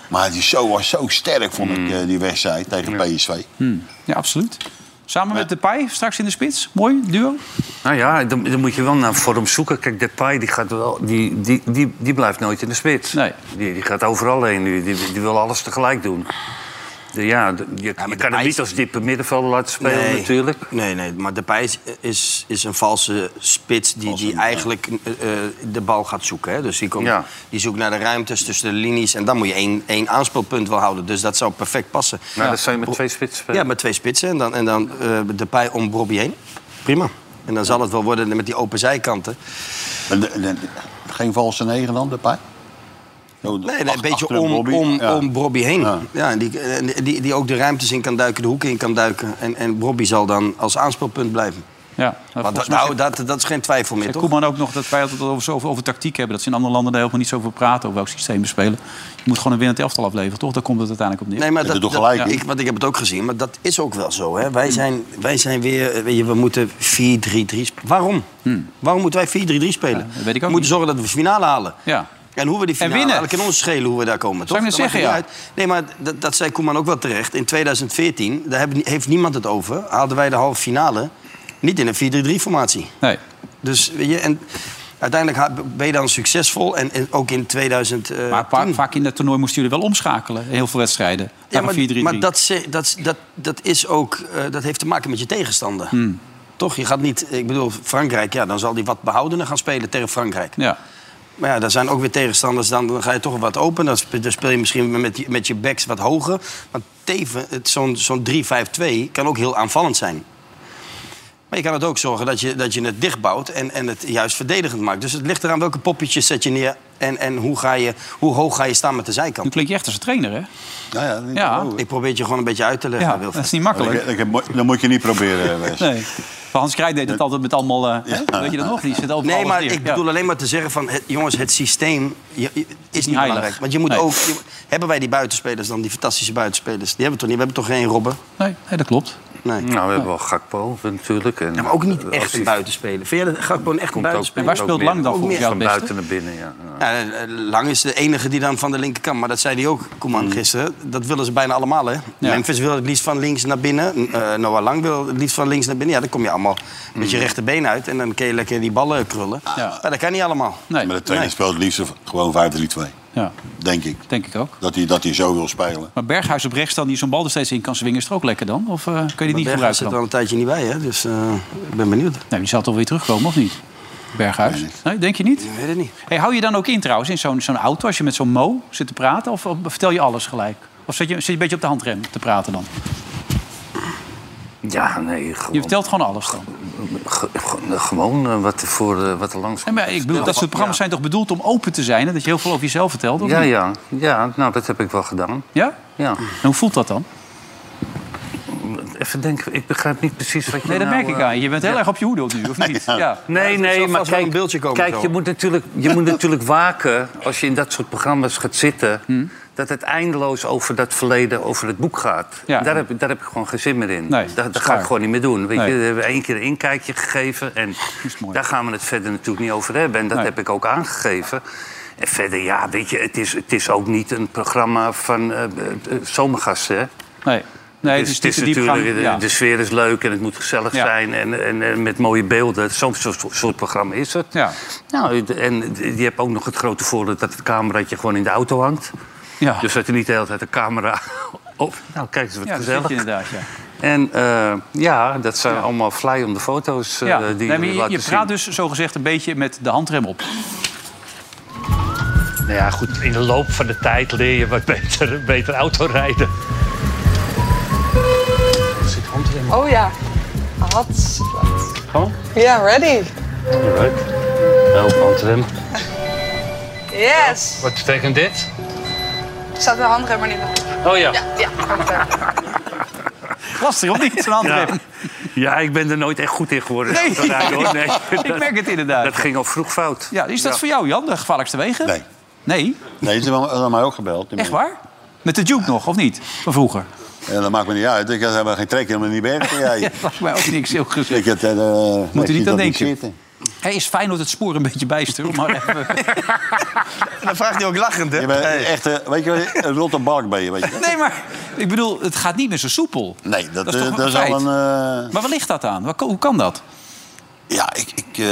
maar die show was zo sterk, vond Hm. ik, eh, die wedstrijd tegen PSV. Ja, absoluut. Samen met Depay, straks in de spits. Mooi, duo. Nou ja, dan, dan moet je wel naar vorm zoeken. Kijk, Depay die gaat wel, die, die, die, die blijft nooit in de spits. Nee. Die, die gaat overal heen nu. Die, die wil alles tegelijk doen. De- ja, de- je, je kan hem Depay niet is- als diepe middenvelder laten spelen natuurlijk. Nee, nee, maar Depay is, is, is een valse spits die, die eigenlijk eh, eh, de bal gaat zoeken. Hè? Dus die, komt, Ja. die zoekt naar de ruimtes tussen de linies en dan moet je één, één aanspeelpunt wel houden. Dus dat zou perfect passen. Nou, dat zijn met twee spitsen spelen. Ja, met twee spitsen en dan, en dan eh Depay om Bobby heen. Prima. En dan zal het wel worden met die open zijkanten. En de- de- geen valse negen dan, Depay? Zo, Nee, nee, ach- een beetje achter om, Brobbey, om, ja. om Bobby heen. Ja. Ja. en die, en die, die ook de ruimtes in kan duiken, de hoeken in kan duiken. En, en Bobby zal dan als aanspeelpunt blijven. Ja, Want volgens dat, mij nou, dat, dat is geen twijfel meer, En toch? Koeman ook nog dat wij altijd over, zoveel over tactiek hebben. Dat ze in andere landen daar helemaal niet zoveel praten over welk systeem we spelen. Je moet gewoon een winnend elftal afleveren, toch? Daar komt het uiteindelijk op neer. Nee, maar Heb je dat, toch gelijk, dat- hè? ik, want ik heb het ook gezien, maar dat is ook wel zo. Hè? Wij, zijn, wij zijn weer, eh, weet je, we moeten 4-3-3 spelen. Waarom? Waarom moeten wij 4-3-3 spelen? Hm. dat weet ik ook we niet. moeten zorgen dat we de finale halen. Ja. En hoe we die finale winnen. halen, kan ons schelen hoe we daar komen, toch? ik net Dat maakt zeggen, niet uit. Nee, maar dat, dat zei Koeman ook wel terecht. In 2014, daar hebben- heeft niemand het over, haalden wij de halve finale niet in een 4-3-3-formatie. Nee. Dus, weet je, en uiteindelijk ha- ben je dan succesvol. En, en ook in 2000. eh, Maar vaak, vaak in dat toernooi moesten jullie wel omschakelen. in Heel veel wedstrijden. ja, Naar maar, een 4-3-3. maar dat, ze- dat, dat, dat, is ook, eh, dat heeft te maken met je tegenstander. Hmm. Toch? Je gaat niet... Ik bedoel, Frankrijk, ja, dan zal die wat behoudener gaan spelen tegen Frankrijk. Ja. Maar ja, daar zijn ook weer tegenstanders. Dan, dan ga je toch wat open. Dan spe- dan speel je misschien met, je- met je backs wat hoger. Maar teven, het- zo'n zo'n 3-5-2 kan ook heel aanvallend zijn. Maar je kan het ook zorgen dat je, dat je het dichtbouwt en, en het juist verdedigend maakt. Dus het ligt eraan welke poppetjes zet je neer... en, en hoe, ga je, hoe hoog ga je staan met de Nu zijkant. klink je echt als een trainer, hè? Ja, ja, oh. dat- Ja. dat- Ik probeer het je gewoon een beetje uit te leggen, Ja, Wilfred. dat is niet makkelijk. dat- dat- dat moet je niet proberen, eh, Wes. Nee. Maar Hans Krij deed het altijd met allemaal... eh, hè? Weet je dat nog? Die zit overal Nee, maar neer. ik Ja. bedoel alleen maar te zeggen van... Het, jongens, het systeem je- je- is niet heilig. belangrijk. Want je moet Nee. ook... je- hebben wij die buitenspelers dan, die fantastische buitenspelers? Die hebben we toch niet? We hebben toch geen Robben? Nee, nee, dat klopt. Nee. Nou, we hebben wel Gakpo natuurlijk. En, maar ook niet eh, als echt die een buitenspeler. Vind jij dat Gakpo een echt En komt ook- een buitenspeler? waar ook speelt meer- Lang dan ook volgens meer jou Van het beste? buiten naar binnen, ja. ja. Ja, eh, Lang is de enige die dan van de linkerkant... maar dat zei hij ook, Koeman, gisteren. Dat willen ze bijna allemaal, hè? Memphis wil het liefst van links naar binnen. Eh, Noah Lang wil het liefst van links naar binnen. Ja, dan kom je allemaal met je rechterbeen uit... en dan kun je lekker die ballen krullen. Ja. Maar dat kan niet allemaal. Nee, Maar de trainer Nee. speelt het liefst gewoon 5-3-2, ja, denk ik. denk ik ook. Dat hij, dat hij zo wil spelen. Maar Berghuis op rechts dan, die zo'n bal er steeds in kan swingen... is er ook lekker dan? Of eh, kun je die niet Berghuis gebruiken zit dan? er al een tijdje niet bij, hè? Dus eh, ik ben benieuwd. Nou, die zal toch weer terugkomen, of niet? Berghuis? Nee, denk je niet? Ik weet het niet. Hey, hou je dan ook in trouwens, in zo'n zo'n auto, als je met zo'n mo zit te praten? Of, of vertel je alles gelijk? Of zit je, zit je een beetje op de handrem te praten dan? Ja, nee, Je gewoon, vertelt gewoon alles dan. ge- ge- gewoon eh, wat, er voor, eh, wat er langs Nee, maar ik bedoel, dat soort programma's zijn toch bedoeld om open te zijn? Hè? Dat je heel veel over jezelf vertelt, of Ja, niet? ja, ja, nou, dat heb ik wel gedaan. Ja? Ja. En hoe voelt dat dan? Even denken, ik begrijp niet precies wat je Nee, dat nou, merk ik eh, aan je. Je bent heel erg op je hoede op nu, of niet? Ja. Nee, zal nee, vast maar wel een kijk, beeldje komen kijk zo. Hm? je, moet natuurlijk, je moet natuurlijk waken als je in dat soort programma's gaat zitten. dat het eindeloos over dat verleden, over het boek gaat. Ja. Daar, heb, ik- daar heb ik gewoon geen zin meer in. Nee, dat dat dat is ga ik waar. gewoon niet meer doen. Weet Nee. je, we hebben één keer een inkijkje gegeven. En is mooi. daar gaan we het verder natuurlijk niet over hebben. En dat Nee. heb ik ook aangegeven. En verder, ja, weet je, het is, het is ook niet een programma van eh eh, zomergasten. Hè? Nee, nee Dus het is, niet te diep gaan. natuurlijk, de, Ja. de sfeer is leuk en het moet gezellig Ja. zijn en, en, en met mooie beelden. Zo'n soort, soort programma is het. Ja. Nou, en je hebt ook nog het grote voordeel dat het cameraatje gewoon in de auto hangt. Ja. Dus dat er niet de hele tijd de camera op... Nou, kijk eens wat Ah. ja, dat vind gezellig. je inderdaad, ja. En eh, ja, dat zijn allemaal fly om de foto's eh, ja. die nee, maar jullie je, laten je praat zien. dus zogezegd een beetje met de handrem op. dus- Nou ja, goed, in de loop van de tijd leer je wat beter, beter autorijden. Er zit hand erin. Oh ja. Hats. Gewoon? Ja, ready. Alright. Help, handrem. Yes. Wat betekent dit? Staat de handrem maar niet op. Oh ja. Ja, handrem. Lastig of niet, zo'n handrem? Ja, ik ben er nooit echt goed in geworden. Nee. Dat rijden, hoor. Nee. Ik merk het inderdaad. Dat ging al vroeg fout. ja, is dat voor jou, Jan, de gevaarlijkste wegen? Nee. Nee? Nee, ze hebben hebben mij ook gebeld. Die Echt man. waar? Met de Duke nog, of niet? Van vroeger. Ja, dat maakt me niet uit. Ik heb geen trek in mijn berg. Jij. Ja, dat lag mij ook niks heel gezegd. Ik heb, eh, nee, Moet u ik niet zie aan dat niet denken. zitten. Hij is fijn dat het spoor een beetje bijstuurt. Maar even... En dan vraagt hij ook lachend, hè? Je bent Hey. echt, eh, weet je, wat, een rotte balk ben je, weet je. Nee, maar ik bedoel, het gaat niet meer zo soepel. Nee, dat, is eh, toch dat is feit? al een... eh, Maar waar ligt dat aan? Waar ko- Hoe kan dat? ja, ik, ik eh,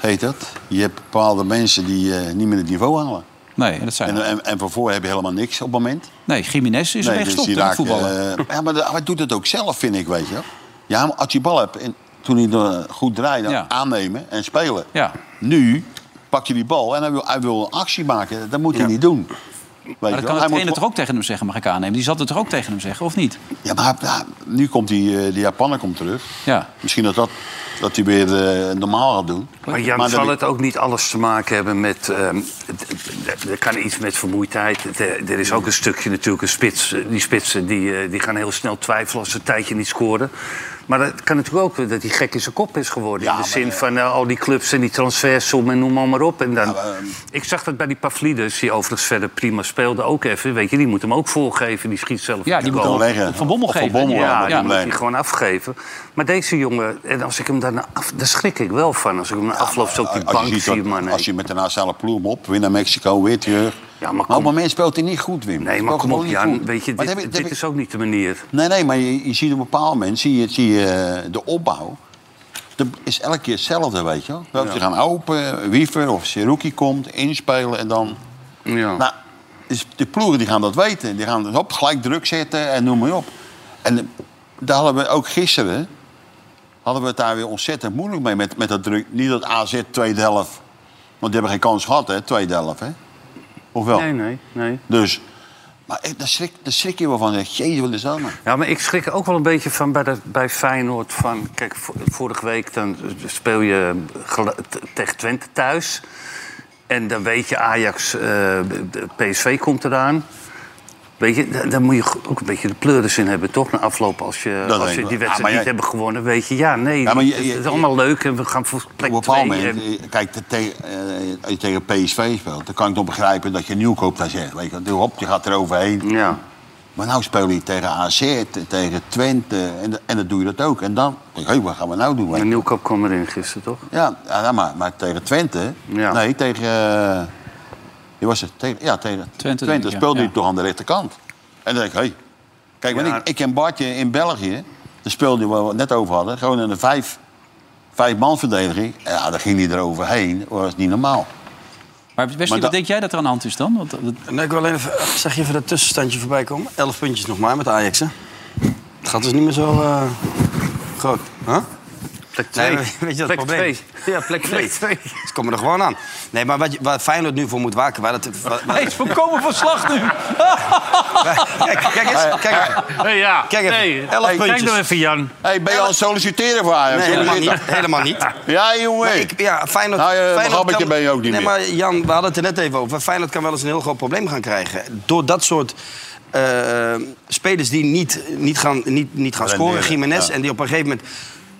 heet dat. Je hebt bepaalde mensen die eh, niet meer het niveau halen. Nee, dat zijn En, eh, en, en van voor heb je helemaal niks op het moment. Nee, Jiménez is ermee gestopt met voetballen. dus eh, ja, maar de- hij doet het ook zelf, vind ik, weet je. wel. Ja, maar als je bal hebt, en toen hij er goed draaide, Ja. aannemen en spelen. ja. Nu pak je die bal en hij wil, hij wil een actie maken. Dat moet hij niet doen. Weet je Maar wel. dat kan de hij moet trainer toch ook tegen hem zeggen, mag ik aannemen? Die zal het toch ook tegen hem zeggen, of niet? Ja, maar ja, nu komt die, eh, die Japaner komt terug. Ja. Misschien dat, dat, dat hij weer eh, normaal gaat doen. Maar Jan, dat zal ik- het ook niet alles te maken hebben met... ehm, d- d- d- er kan iets met vermoeidheid. D- Er is ook een stukje natuurlijk, een spits. Eh, Die spitsen die, eh, die gaan heel snel twijfelen als ze een tijdje niet scoren. Maar dat kan natuurlijk ook eh, dat hij gek in zijn kop is geworden. in de zin van eh, al die clubs en die transfersom en noem maar, maar op. En Nou, dan, ehm, ik zag dat bij die Pavlidis, die overigens verder prima speelde, ook even. Weet je, die moet hem ook voorgeven. Die schiet zelf Ja, op die de moet goal. dan hem leggen. op Van Bommel Of Van geven. Bommel, Ja, ja, die moet hij probleem. gewoon afgeven. Maar deze jongen, en als ik hem daarna af, daar schrik ik wel van. Als ik hem na afloop zo op die Als je, bank ziet dat- zie, maar nee. als je met de nationale ploeg op, weer naar Mexico, weer terug. Ja, maar maar kom- op het moment speelt hij niet goed, Wim. Nee, maar Speelt kom op, gewoon niet Jan. goed. Weet je, Maar dat dit, heb ik- dat dit heb ik- is ook niet de manier. Nee, nee, maar je, je ziet op bepaalde mensen, zie je, zie je eh, de opbouw. Dat is elke keer hetzelfde, weet je wel. Dat Ze gaan open, Wiever of Seruki komt, inspelen en dan... Ja. Nou, dus de ploegen die gaan dat weten. Die gaan dus op, gelijk druk zetten en noem maar op. En eh, daar hadden we ook gisteren... hadden we het daar weer ontzettend moeilijk mee met, met dat druk. Niet dat AZ tweede helft... want die hebben geen kans gehad, hè, tweede helft, hè? Of wel? nee, nee, nee. Dus... Maar eh, daar schrik, daar schrik je wel van. Zeg, Jezus, wat is dat nou? Ja, maar ik schrik er ook wel een beetje van bij, dat- bij Feyenoord. Van, kijk, vo- vorige week dan speel je gel- t- tegen Twente thuis. En dan weet je, Ajax, eh, de PSV komt eraan. Weet je, daar, daar moet je go- ook een beetje de pleuris in hebben, toch? Na afloop, als je, Dat als denk je ik wel. die wedstrijd Ah, maar niet jij- hebben gewonnen, weet je, ja, nee. Ja, maar je- je- het is allemaal leuk en we gaan voor plek Op een twee. bepaald moment, en- eh, kijk, te- te- eh, als je tegen PSV speelt, dan kan ik nog begrijpen dat je nieuwkoop daar zegt. Weet je, wel. hop, je gaat er overheen. ja. Maar nou speel je tegen AZ, tegen Twente, en, en dan doe je dat ook. En dan denk ik, hé, wat gaan we nou doen? weet En je? Nieuwkoop kwam erin gisteren, toch? Ja, ja, maar, maar tegen Twente, Ja. nee, tegen, eh, wie was het? Tegen, ja, tegen Twente, Twente, denk ik, ja. speelde Ja. hij toch aan de rechterkant. En dan denk ik, hé, kijk, want Ja. ik, ik en Bartje in België, daar speelde hij waar we het net over hadden, gewoon in een vijf, vijf man verdediging. Ja, daar ging hij eroverheen, dat was niet normaal. Maar Wesley, Maar wat dat- denk jij dat er aan de hand is dan? Want, eh, dat- dat- En dan wil ik wel even, zeg je even dat tussenstandje voorbij komen? Elf puntjes nog maar met Ajax, hè? Het gaat dus niet meer zo eh, groot. Huh? Plek Nee, twee. maar weet je dat plek het probleem? twee. Ja, plek twee. Ze komen er gewoon aan. Nee, maar wat, je- waar Feyenoord nu voor moet waken... Waar dat, waar- waar- Hij is volkomen van slag nu. kijk, kijk eens, kijk eens. Hey, ja. Kijk even. Nee. Elf Hey, Kijk puntjes. nou even, Jan. hey, ben je aan het solliciteren voor Ajax? Nee, helemaal niet. Helemaal niet. Ja, jongen. Maar ik, ja, Feyenoord, Nou, eh, Feyenoord een grappetje ben je ook niet nee, meer. maar Jan, we hadden het er net even over. Feyenoord kan wel eens een heel groot probleem gaan krijgen. Door dat soort eh, spelers die niet, niet gaan, niet, niet gaan Renderen, scoren. Jiménez ja. en die op een gegeven moment...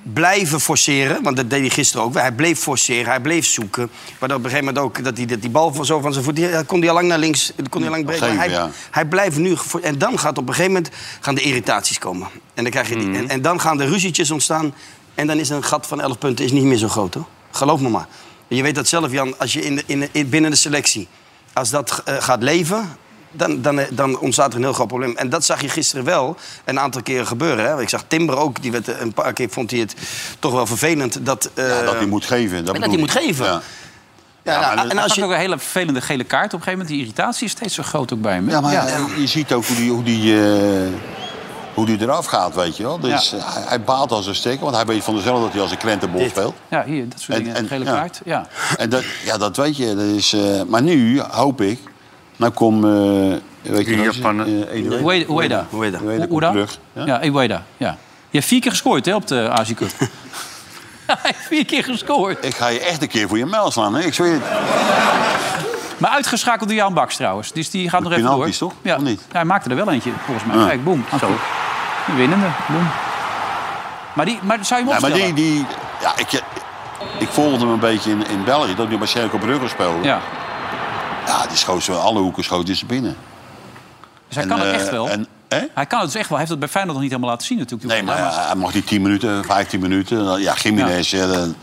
blijven forceren. Want dat deed hij gisteren ook. weer. Hij bleef forceren, hij bleef zoeken. Maar op een gegeven moment ook dat hij dat die bal van zo van zijn voet... die- dat kon hij al lang naar links, dat kon hij al lang breken. Geef, Maar hij, ja. hij blijft nu... gefor- En dan gaat op een gegeven moment gaan de irritaties komen. En dan, krijg je die, Mhm. en, en dan gaan de ruzietjes ontstaan. En dan is een gat van 11 punten is niet meer zo groot, hoor. Geloof me maar. Je weet dat zelf, Jan, als je in de, in de- in- binnen de selectie... als dat eh, gaat leven, dan, dan, eh, dan ontstaat er een heel groot probleem. En dat zag je gisteren wel een aantal keren gebeuren. Hè? Ik zag Timber ook, die werd eh, een paar keer vond hij het toch wel vervelend... dat, eh, Ja, dat hij moet geven. Dat, dat hij bedoel moet ik. geven. Ja. ja, nou, maar dat- en als Als je, ook een hele vervelende gele kaart op een gegeven moment. Die irritatie is steeds zo groot ook bij hem. hè? Ja, maar je ziet ook hoe die, hoe, die, eh, hoe die eraf gaat, weet je wel. Dus hij, hij baalt als een stekker, want hij weet van dezelfde dat hij als een krentenbol speelt. Ja, hier, dat soort En- dingen. en- gele ja. kaart. Ja. En dat, ja, dat weet je. Dat is, eh, maar nu hoop ik, nou kom, eh weet je Die nog eens, Japaner. eh, Eduard. Ueda. Ueda. Ueda. Ueda komt Ueda? terug, ja? Ja, Ueda. Ja. Je hebt vier keer gescoord hè, op de Azië Cup. Hij heeft vier keer gescoord. Ik ga je echt een keer voor je mijl slaan. Hè? Ik zweer het. Maar uitgeschakeld door Jan Baks trouwens. Dus die gaat nog even door. penalties, toch? Ja. Of niet? Ja, hij maakte er wel eentje, volgens mij. Ja. Kijk, boem. De winnende. Boem. Maar, die, maar zou je hem Ja, maar opstellen? die, die, ja, ik, ik volgde hem een beetje in, in België, dat hij bij Circo Brugge speelde. Ja. Ja. die schoot ze alle hoeken schoot hij ze binnen. Dus hij kan het eh, echt wel. En, hè? Hij kan het dus echt wel. Hij heeft dat bij Feyenoord nog niet helemaal laten zien natuurlijk. Nee, maar eh, ja, hij mag die 10 minuten, 15 minuten. dan- Ja, Gimenez. Ja. dan-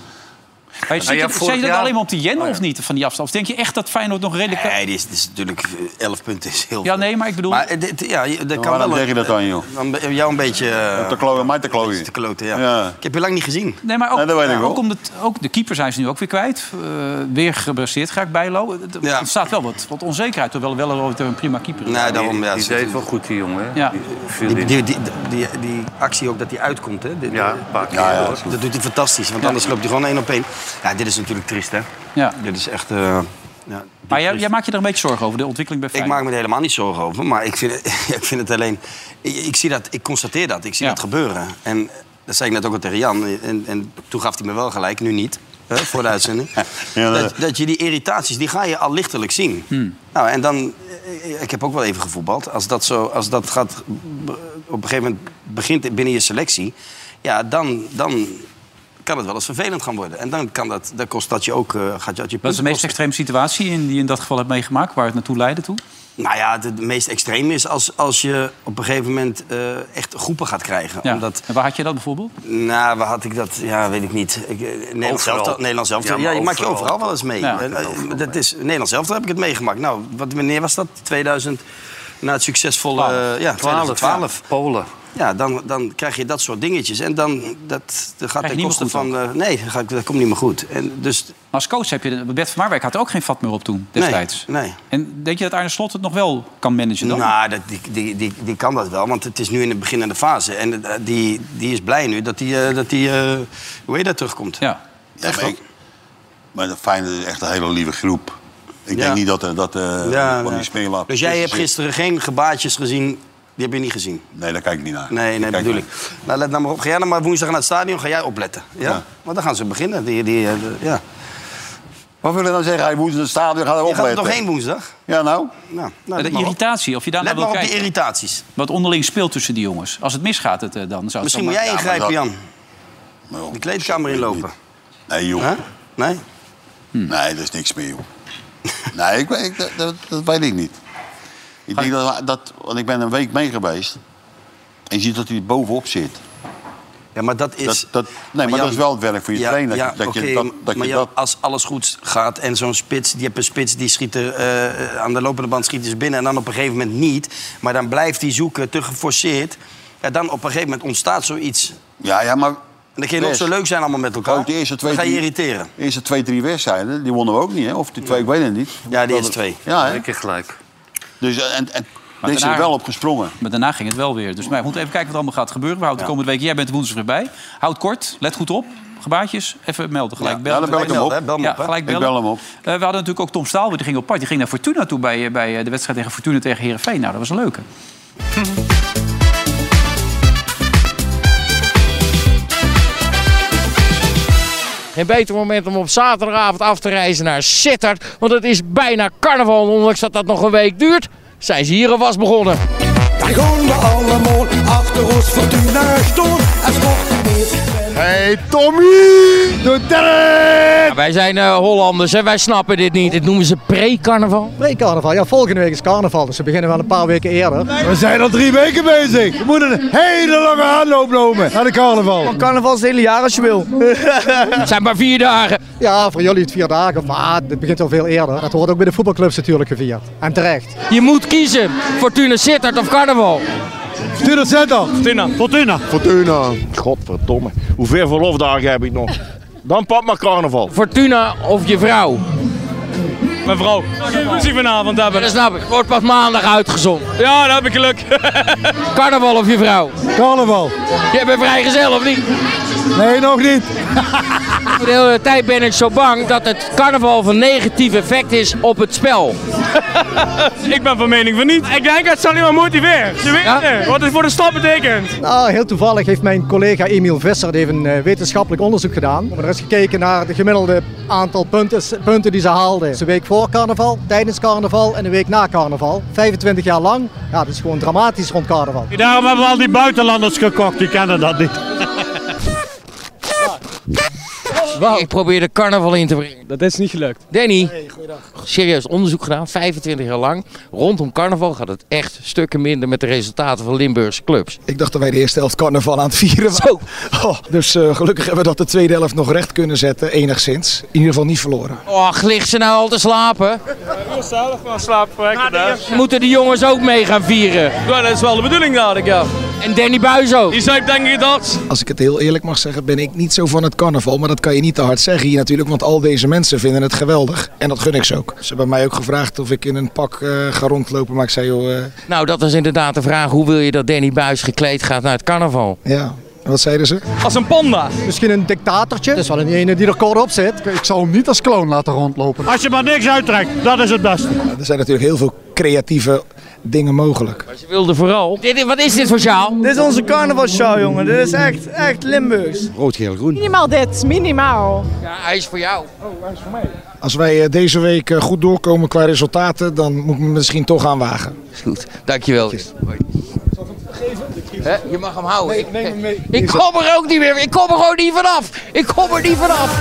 Maar zie je, ja, zie vorig je dat jaar- alleen maar op die Jen Oh, of niet, van die afstand? Of denk je echt dat Feyenoord nog redelijk... Nee, dit is, dit is natuurlijk... eh, 11 punten is heel Ja, veel. nee, maar ik bedoel... Maar eh, dit, ja, je- dat kan waarom wel... zeg je dat dan, joh? Dan ben- jou een beetje... eh, Te klooien, mij te klooien. te kloten, ja. Ja. Ik heb je lang niet gezien. Nee, maar ook, Nee, dat weet ik wel. ook, om de, ook de keeper zijn ze nu ook weer kwijt. Eh, weer geblesseerd graag Bijlo. Er Ja. staat wel wat, wat onzekerheid, hoewel wel een prima keeper is. Nee, daarom... Ja, die ze- deed het wel goed, die jongen. hè? Ja. Die viel Die, in. die, die, die, die actie ook dat hij uitkomt, hè? Dit- Ja, een paar keer. Ja, ja, hoor. dat is goed. Dat doet hij fantastisch, want anders loopt hij gewoon één op één. Ja, dit is natuurlijk triest, hè? Ja. Dit is echt... eh, ja, Maar jij, jij maakt je er een beetje zorgen over, de ontwikkeling bij ik Feyenoord. maak me er helemaal niet zorgen over, maar ik vind, het- ik vind het alleen... Ik, ik zie dat, ik constateer dat, ik zie Ja. dat gebeuren. En dat zei ik net ook al tegen Jan, en, en toen gaf hij me wel gelijk, nu niet, hè, voor de uitzending. Ja, dat- dat, dat je die irritaties, die ga je al lichtelijk zien. Nou, en dan, eh, ik heb ook wel even gevoetbald. Als dat, zo, als dat gaat, b- op een gegeven moment begint binnen je selectie... ja, dan, dan kan het wel eens vervelend gaan worden. En dan kan dat, dan kost dat je ook... eh, gaat je, dat je Dat is de punten meest kosten. extreme situatie in, die je in dat geval hebt meegemaakt, waar het naartoe leidde toe. Nou ja, het meest extreem is als, als je op een gegeven moment eh, echt groepen gaat krijgen. Ja. Omdat, En waar had je dat bijvoorbeeld? nou, waar had ik dat? Ja, weet ik niet. Ik, eh, Nederlands Overal. zelf, Nederlands zelf. Ja, Ja, maar je maakt je overal. overal wel eens mee. Ja. Eh, eh, dat is, Nederlands zelf heb ik het meegemaakt. Nou, wat, wanneer was dat? 2000, na het succesvolle... eh, ja, 2012. Polen. Ja, dan, dan krijg je dat soort dingetjes. En dan dat, dat gaat je ten niet koste meer goed van... eh, nee, dat, gaat- dat komt niet meer goed. En dus, Maar als coach heb je... de- Bert van Marwijk had er ook geen vat meer op toen, nee, destijds. nee. En denk je dat Arne Slot het nog wel kan managen dan? Nou, dat, die, die, die, die kan dat wel, want het is nu in de beginnende fase. En eh, die, die is blij nu dat die, eh, dat die eh, hoe heet dat, terugkomt. Ja. Ja, maar, ik, maar Feyenoord is echt een hele lieve groep. Ik Ja. denk niet dat er dat, eh, Ja, van ja. die smeerlap Dus jij hebt tussen zit. gisteren geen gebaatjes gezien, die heb je niet gezien? Nee, daar kijk ik niet naar. Nee, nee, Daar kijk bedoel ik. niet Nou, let nou maar op. Ga jij nou maar woensdag naar het stadion, ga jij opletten. Ja? Ja. Want dan gaan ze beginnen. Die, die, eh, de- ja. naar. Wat wil je dan zeggen? Hij moet in het stadion gaan Je gaat er opletten. toch heen woensdag? Ja, nou. Nou, nou, De let maar op. irritatie, of je daar Let naar maar wil op die kijken. irritaties. Wat onderling speelt tussen die jongens. Als het misgaat het, eh, dan zou het Misschien dan moet maar- jij ingrijpen, dat- Jan. Maar joh, De kleedkamer dat weet ik inlopen. niet. Nee, joh. Hm. Huh? Nee? Nee, dat is niks meer, joh. nee, ik, weet- ik, dat- dat, dat weet ik niet. Ik denk dat, dat... Want ik ben een week mee geweest. En je ziet dat hij bovenop zit. Ja, maar dat is... Dat, dat, nee, maar, Jan- dat is wel het werk voor je trainer. dat je- dat oké, je dat, dat, maar je Jan, dat als alles goed gaat en zo'n spits... die hebt een spits, die schiet er eh, aan de lopende band schiet hij ze binnen... en dan op een gegeven moment niet. Maar dan blijft hij zoeken, te geforceerd. Ja, dan op een gegeven moment ontstaat zoiets. En Ja, ja, maar... dan kun je nog Wes, zo leuk zijn allemaal met elkaar. ook de eerste twee, dan ga je drie- irriteren. De eerste twee, drie wedstrijden, die wonnen we ook niet, hè? Of die twee, ik weet het niet. Ja, de Dat- eerste twee. Ja, hè? Twee keer gelijk. Dus, eh, en, en er is daarna- er wel op gesprongen. Maar daarna ging het wel weer. Dus wij moeten even kijken wat allemaal gaat gebeuren. We houden de komende week. Jij bent woensdag weer bij. Houd kort. Let goed op. Gebaatjes. Even melden. Gelijk Ja, bellen. dan bel ik hem op. hè, bel hem Ja, op, hè. gelijk Ik bellen. bel hem op. Eh, we hadden natuurlijk ook Tom Staal. Die ging op pad. Die ging naar Fortuna toe bij, eh, bij eh, de wedstrijd tegen Fortuna tegen Heerenveen. Nou, dat was een leuke. Geen beter moment om op zaterdagavond af te reizen naar Sittard. Want het is bijna carnaval. En Ondanks dat dat nog een week duurt, zijn ze hier alvast begonnen. Wij gaan allemaal achter ons Fortuna stoel en sport Hey Tommy! Doe Ja, wij zijn eh, Hollanders en wij snappen dit niet. Dit noemen ze pre-carnaval. Pre-carnaval, ja, volgende week is carnaval, dus we beginnen wel een paar weken eerder. We zijn al drie weken bezig. We moeten een hele lange aanloop nemen naar de carnaval. Van carnaval is het hele jaar als je wil. Het zijn maar vier dagen. Ja, voor jullie het vier dagen, maar het begint al veel eerder. Dat wordt ook bij de voetbalclubs natuurlijk gevierd. En terecht. Je moet kiezen. Fortuna Sittard of carnaval. Fortuna Sittard. Fortuna. Fortuna. Fortuna. Godverdomme. Hoeveel verlofdagen heb ik nog? Dan pak maar carnaval. Fortuna of je vrouw. Mijn vrouw. Ruzie vanavond hebben. Dat snap ik. Wordt pas maandag uitgezonden. Ja, daar heb ik geluk. Carnaval of je vrouw. Carnaval. Jij bent vrijgezel of niet? Nee, nog niet. De hele tijd ben ik zo bang dat het carnaval van negatief effect is op het spel. ik ben van mening van niet. Ik denk het zal niet meer motiveren. Je weet het niet, wat het voor de stad betekent. Nou, heel toevallig heeft mijn collega Emiel Visser die heeft een eh, wetenschappelijk onderzoek gedaan. Maar er is gekeken naar het gemiddelde aantal punten, punten die ze haalden. Dus een week voor carnaval, tijdens carnaval en een week na carnaval. 25 jaar lang. Ja, dat is gewoon dramatisch rond carnaval. Daarom hebben we al die buitenlanders gekocht, die kennen dat niet. Ik probeerde carnaval in te brengen. Dat is niet gelukt. Danny, serieus onderzoek gedaan, 25 jaar lang. Rondom carnaval gaat het echt stukken minder met de resultaten van Limburgse clubs. Ik dacht dat wij de eerste helft carnaval aan het vieren waren. Oh, dus eh, gelukkig hebben we dat de tweede helft nog recht kunnen zetten, enigszins. In ieder geval niet verloren. Och, ligt ze nou al te slapen? Heel zelf maar slapen lekker thuis. Moeten de jongens ook mee gaan vieren? Ja, dat is wel de bedoeling dadelijk, ja. En Danny Buis ook. Die zei denk ik dat. Als ik het heel eerlijk mag zeggen, ben ik niet zo van het carnaval. Maar dat kan je niet te hard zeggen hier natuurlijk, want al deze mensen vinden het geweldig. En dat gun ik ze ook. Ze hebben mij ook gevraagd of ik in een pak eh, ga rondlopen. Maar ik zei, joh, eh, Nou, dat is inderdaad de vraag. Hoe wil je dat Danny Buis gekleed gaat naar het carnaval? ja. En wat zeiden ze? Als een panda. Misschien een dictatortje. Dat is wel een ene die er kort op zit. Ik zou hem niet als kloon laten rondlopen. Als je maar niks uittrekt, dat is het beste. Er zijn natuurlijk heel veel creatieve dingen mogelijk. Ze wilde vooral. Dit, wat is dit voor sjaal? Dit is onze carnavalshow, jongen. Dit is echt, echt Limburgs. Rood, geel, groen. Minimaal dit, minimaal. Ja, Nou, hij is voor jou. Oh, hij is voor mij. Als wij eh, deze week eh, goed doorkomen qua resultaten, dan moet ik me misschien toch aan wagen. Is goed, dankjewel. Hè? Je mag hem houden. ik, ik kom er ook niet meer. Ik kom er gewoon niet vanaf. Ik kom er niet vanaf.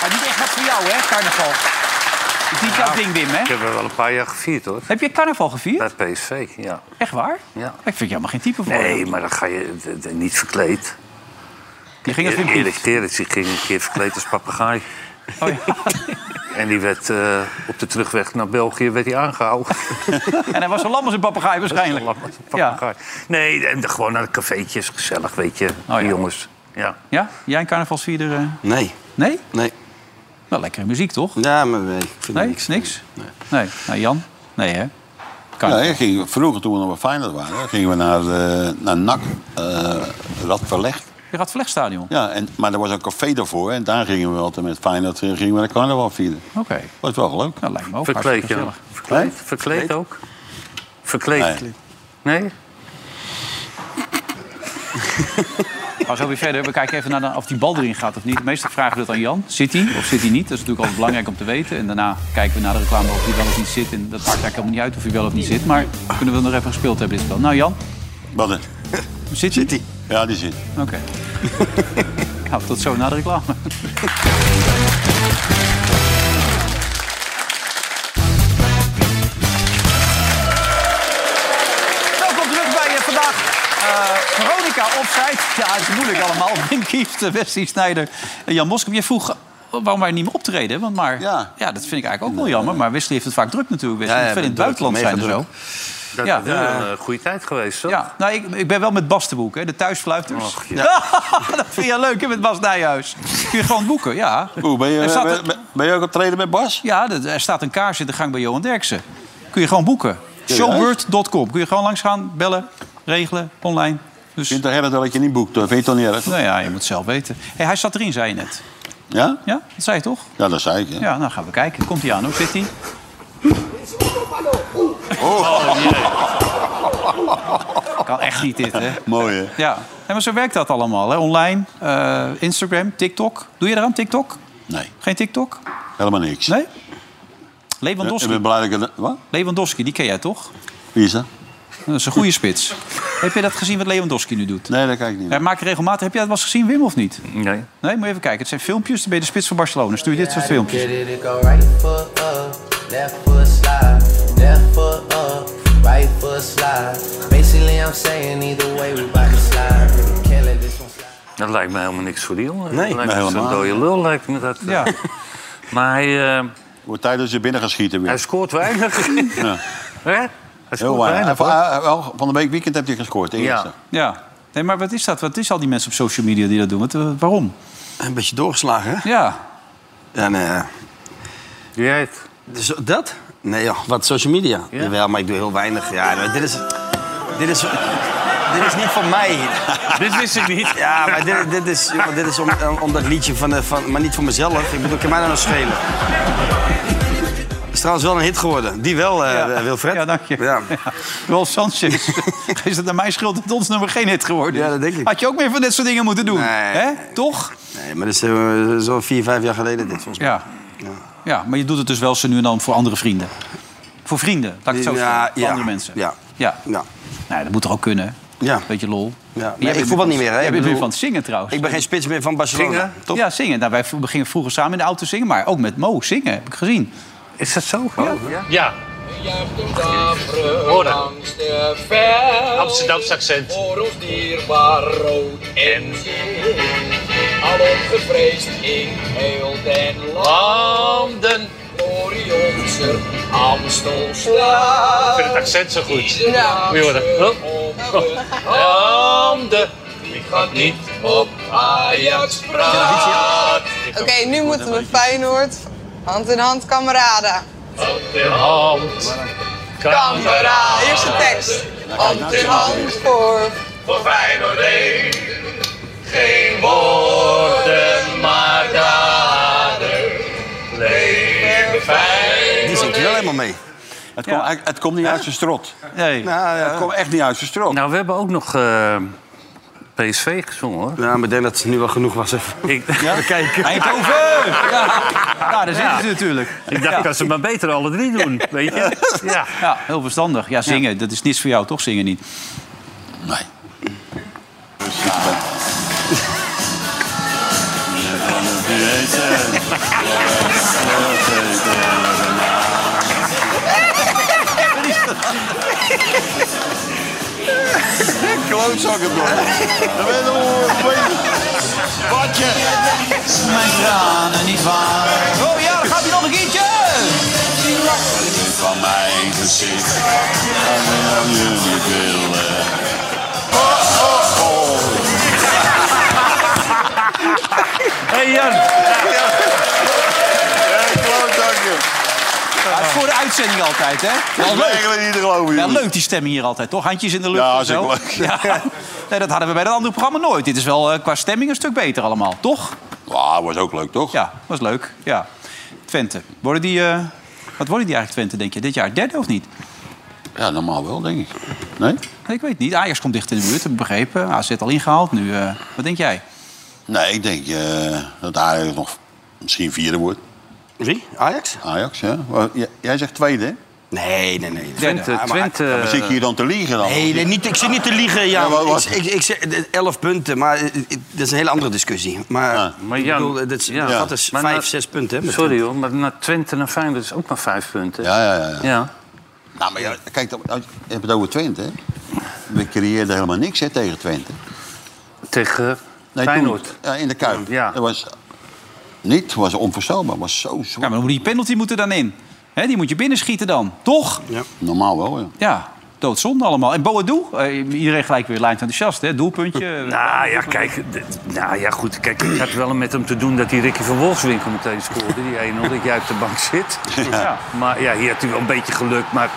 Maar niet echt wat voor jou, hè, carnaval. Het is niet jouw ding, Wim, hè? Ik heb er wel een paar jaar gevierd, hoor. Heb je carnaval gevierd? Bij PSV, ja. Echt waar? ja. Ik vind je helemaal geen type voor. Nee, maar dan ga je d- d- niet verkleed. Die ging als Wim Kieft. die ging een keer verkleed als papegaai. Oh, En die werd eh, op de terugweg naar België werd hij aangehouden. En hij was zo lam als een papegaai waarschijnlijk. Papegaai. Nee, en de- gewoon naar de cafeetjes, gezellig, weet je. Oh, die jongens. Ja. Ja? Jij een carnavalsvierder? eh? Nee. Nee? Nee. Wel lekkere muziek, toch? Ja, maar nee, ik vind Nee, het niks, niks? Nee. Nou, Jan? Nee, hè? Kan Nee, ik ging, vroeger toen we nog bij Feyenoord waren, gingen we naar, eh, naar NAC, eh Radverleg. Je gaat Vlegstadion. Ja, en, maar er was een café daarvoor en daar gingen we altijd met Feyenoord eh, gingen we naar carnaval vieren. Oké. Was wel leuk. Dat Nou, lijkt me ook Verkleed, hartstikke ja. gezellig. Verkleed? Verkleed ook? Verkleed. Nee. Nee? Maar zo weer verder. We kijken even naar de- of die bal erin gaat of niet. Meestal vragen we dat aan Jan. Zit hij of zit hij niet? Dat is natuurlijk altijd belangrijk om te weten. En daarna kijken we naar de reclame of hij wel of niet zit. En dat maakt eigenlijk helemaal niet uit of hij wel of niet zit. Maar we kunnen wel nog even gespeeld hebben dit spel. Nou, Jan. Wat een- Zit hij? Ja, die zit. Oké. nou, tot zo na de reclame. Welkom terug bij eh, vandaag. eh, Veronica opzijt. Ja, het is moeilijk allemaal. Wim Kieft, eh, Wesley Snijder en Jan Moskamp. Je vroeg eh, waarom wij niet meer optreden. Want maar, ja. dat vind ik eigenlijk ook wel jammer. Maar Wesley heeft het vaak druk natuurlijk. Wesley Ja, moet ja, veel in het dat buitenland mega zijn en zo. druk. Dat Ja. is wel een eh, goede tijd geweest, toch? Ja, nou, ik, ik ben wel met Bas te boeken, hè, de thuisfluiters. Och, dat vind je leuk, hè, met Bas Nijhuis. Kun je gewoon boeken, ja. Oeh, ben je, Er staat ben, een- ben- ben je ook op treden met Bas? Ja, dat- er staat een kaars in de gang bij Johan Derksen. Kun je gewoon boeken. Showbird.com. Kun je gewoon langs gaan, bellen, regelen, online. Dus... Vind je het erg dat je niet boekt? Dat vind je toch niet erg? Nou ja, je moet het zelf weten. Hey, hij zat erin, zei je net. Ja? Ja, dat zei je toch? Ja, dat zei ik. Ja, Ja. nou gaan we kijken. Komt hij aan, hoe zit hij? Oh. Kan echt niet dit, hè? Mooi, hè? Ja, en maar zo werkt dat allemaal. Hè? Online, eh, Instagram, TikTok. Doe je eraan TikTok? Nee. Geen TikTok? Helemaal niks. Nee? Lewandowski. Ik ben blij dat ik het... Wat? Lewandowski, die ken jij toch? Wie is dat? Dat is een goede spits. heb je dat gezien wat Lewandowski nu doet? Nee, dat kijk ik niet. Hij maakt regelmatig... Heb jij dat wel eens gezien, Wim, of niet? Nee. Nee, moet je even kijken. Het zijn filmpjes. Dan ben je de spits van Barcelona. Stuur je dit soort filmpjes. Get it, it go right foot up, left foot slide, left foot up, right foot slide. Basically, I'm saying either way, we bout to slide. Can't let this one slide. Dat lijkt me helemaal niks voor die jongen. Nee, dat lijkt nee, me zo'n helemaal dode niet. lul, lijkt me dat. eh. Ja. maar hij... eh, Wordt tijd dat ze binnen gaan schieten weer. Hij scoort weinig. Ja. Hè? Hij Heel scoort weinig. weinig. Hij- hoor. hij- wel, Van de week weekend heeft hij gescoord. de eerste. Ja. Nee, maar wat is dat? Wat is al die mensen op social media die dat doen? Wat, eh, waarom? Een beetje doorgeslagen, hè? Ja. Ja, nee. ja. Dus dat? eh, Nee, joh. Wat, social media? Jawel, maar ik doe heel weinig. Ja, maar dit is... Dit is... Dit is niet van mij. dit wist ik niet. Ja, maar dit, dit is, jongen, dit is om, om- om dat liedje van, de, van... Maar niet voor mezelf. Ik bedoel, kan mij nou nog schelen. Is trouwens wel een hit geworden. Die wel, eh Wilfred. Ja, dank je. Rolf Sanchez. is het naar mijn schuld dat ons nummer geen hit geworden is? Ja, dat denk ik. Had je ook meer van dit soort dingen moeten doen? Hè? Toch? Nee, maar dat is eh, zo'n vier, vijf jaar geleden dit, volgens mij. Ja. ja, maar je doet het dus wel zo nu en dan voor andere vrienden. Voor vrienden, laat ik het zo Ja, zeggen. Voor ja, andere mensen. ja. ja. Nee, dat moet toch ook kunnen? Ja. Beetje lol. Ja, Jij nee, ik bent- voetbal niet meer, hè? Jij Ik bent bedoel- weer van het zingen trouwens. Ik ben geen spits meer van Barcelona. Zingen? Ja, zingen. Nou, wij v- gingen vroeger samen in de auto zingen, maar ook met Mo zingen, heb ik gezien. Is dat zo? Oh, ja. Ja. Hoor dat. Amsterdamse accent. Voor ons dierbaar rood en geel. Al ongevreesd in heel den landen. Glorie onze Amstelslaaf. Ik vind het accent zo goed. Ja. Nou, Moet je horen. Hup. Handen. Die gaat niet op Ajax praat. Oké, nu moeten we Feyenoord hand in hand kameraden. De hand. Kameraden. Hier is de tekst. Hand in hand voor... Voor Feyenoord één. Geen woorden, maar daden. Leven Feyenoord. Die zit je wel helemaal mee. Het, komt, eigenlijk- het komt niet uit zijn strot. Nee. Nou, Het komt echt niet uit zijn strot. Nou, we hebben ook nog eh, PSV gezongen, hoor. Ja, maar ik denk dat het nu wel genoeg was. Even. Ik, kijken. Eindhoven! Ja, daar zitten Ja. ze natuurlijk. Ik dacht, Ja. ik kan ze maar beter alle drie doen, weet je? Ja. Ja, heel verstandig. Ja, zingen, dat is niets voor jou, toch? Zingen niet. Klootzakken, bro. Dat ben Watje. Mijn tranen niet waar. Oh ja, dan gaat hij nog een keertje. Van mijn gezicht. aan jullie willen. Oh, Hey Jan. Ja, het is voor de uitzending altijd, hè? Dat is eigenlijk niet te geloven, Ja, jongen. leuk die stemming hier altijd, toch? Handjes in de lucht. Ja, en zo. zeker leuk. Ja. Nee, dat hadden we bij dat andere programma nooit. Dit is wel eh, qua stemming een stuk beter allemaal, toch? Ja, was ook leuk, toch? Ja, was leuk. Ja. Twente. Worden die, eh, wat worden die eigenlijk, Twente, denk je? Dit jaar derde of niet? Ja, normaal wel, denk ik. Nee? Nee, ik weet het niet. Ajax komt dicht in de buurt, heb ik begrepen. AZ al ingehaald. Nu, eh, wat denk jij? Nee, ik denk eh, dat Ajax nog misschien vierde wordt. Wie? Ajax? Ajax, ja. Maar j- Jij zegt tweede, hè? Nee, nee, nee. Twente, Ja, maar- Twente. Ja, maar zit je hier dan te liegen dan? Nee, nee niet, ik zit niet te liegen. Ja, Ja, maar wat- ik, ik, ik zeg eh, 11 punten, maar eh, eh, dat is een hele andere discussie. Maar, Maar ik Jan, bedoel, eh, dat is, ja. dat is Maar na- nou- 5, 6 punten. hè, met Sorry Twente. hoor, maar naar Twente en Feyenoord is ook maar vijf punten. Ja, ja, ja. ja. Ja. Nou, maar ja, kijk, dan- als- je hebt het over Twente, hè? We creëerden helemaal niks, hè, tegen Twente. Tegen Nee, Feyenoord. toen- ja, in de Kuip. Dat was niet, was onvoorstelbaar, was zo Ja, maar zwaar. dan moet die penalty moeten dan in. Hè, die moet je binnenschieten dan, toch? Normaal wel, ja. Ja, doodzonde allemaal. En Boadu, eh, iedereen gelijk weer lijnt enthousiast, hè? Doelpuntje. eh, Nou ja, kijk, d- nou ja, goed, kijk, ik had wel met hem te doen dat die Ricky van Wolfswinkel meteen scoorde. Die 1-0, dat jij op de bank zit. Ja. Maar ja, hier had hij wel een beetje geluk. Maar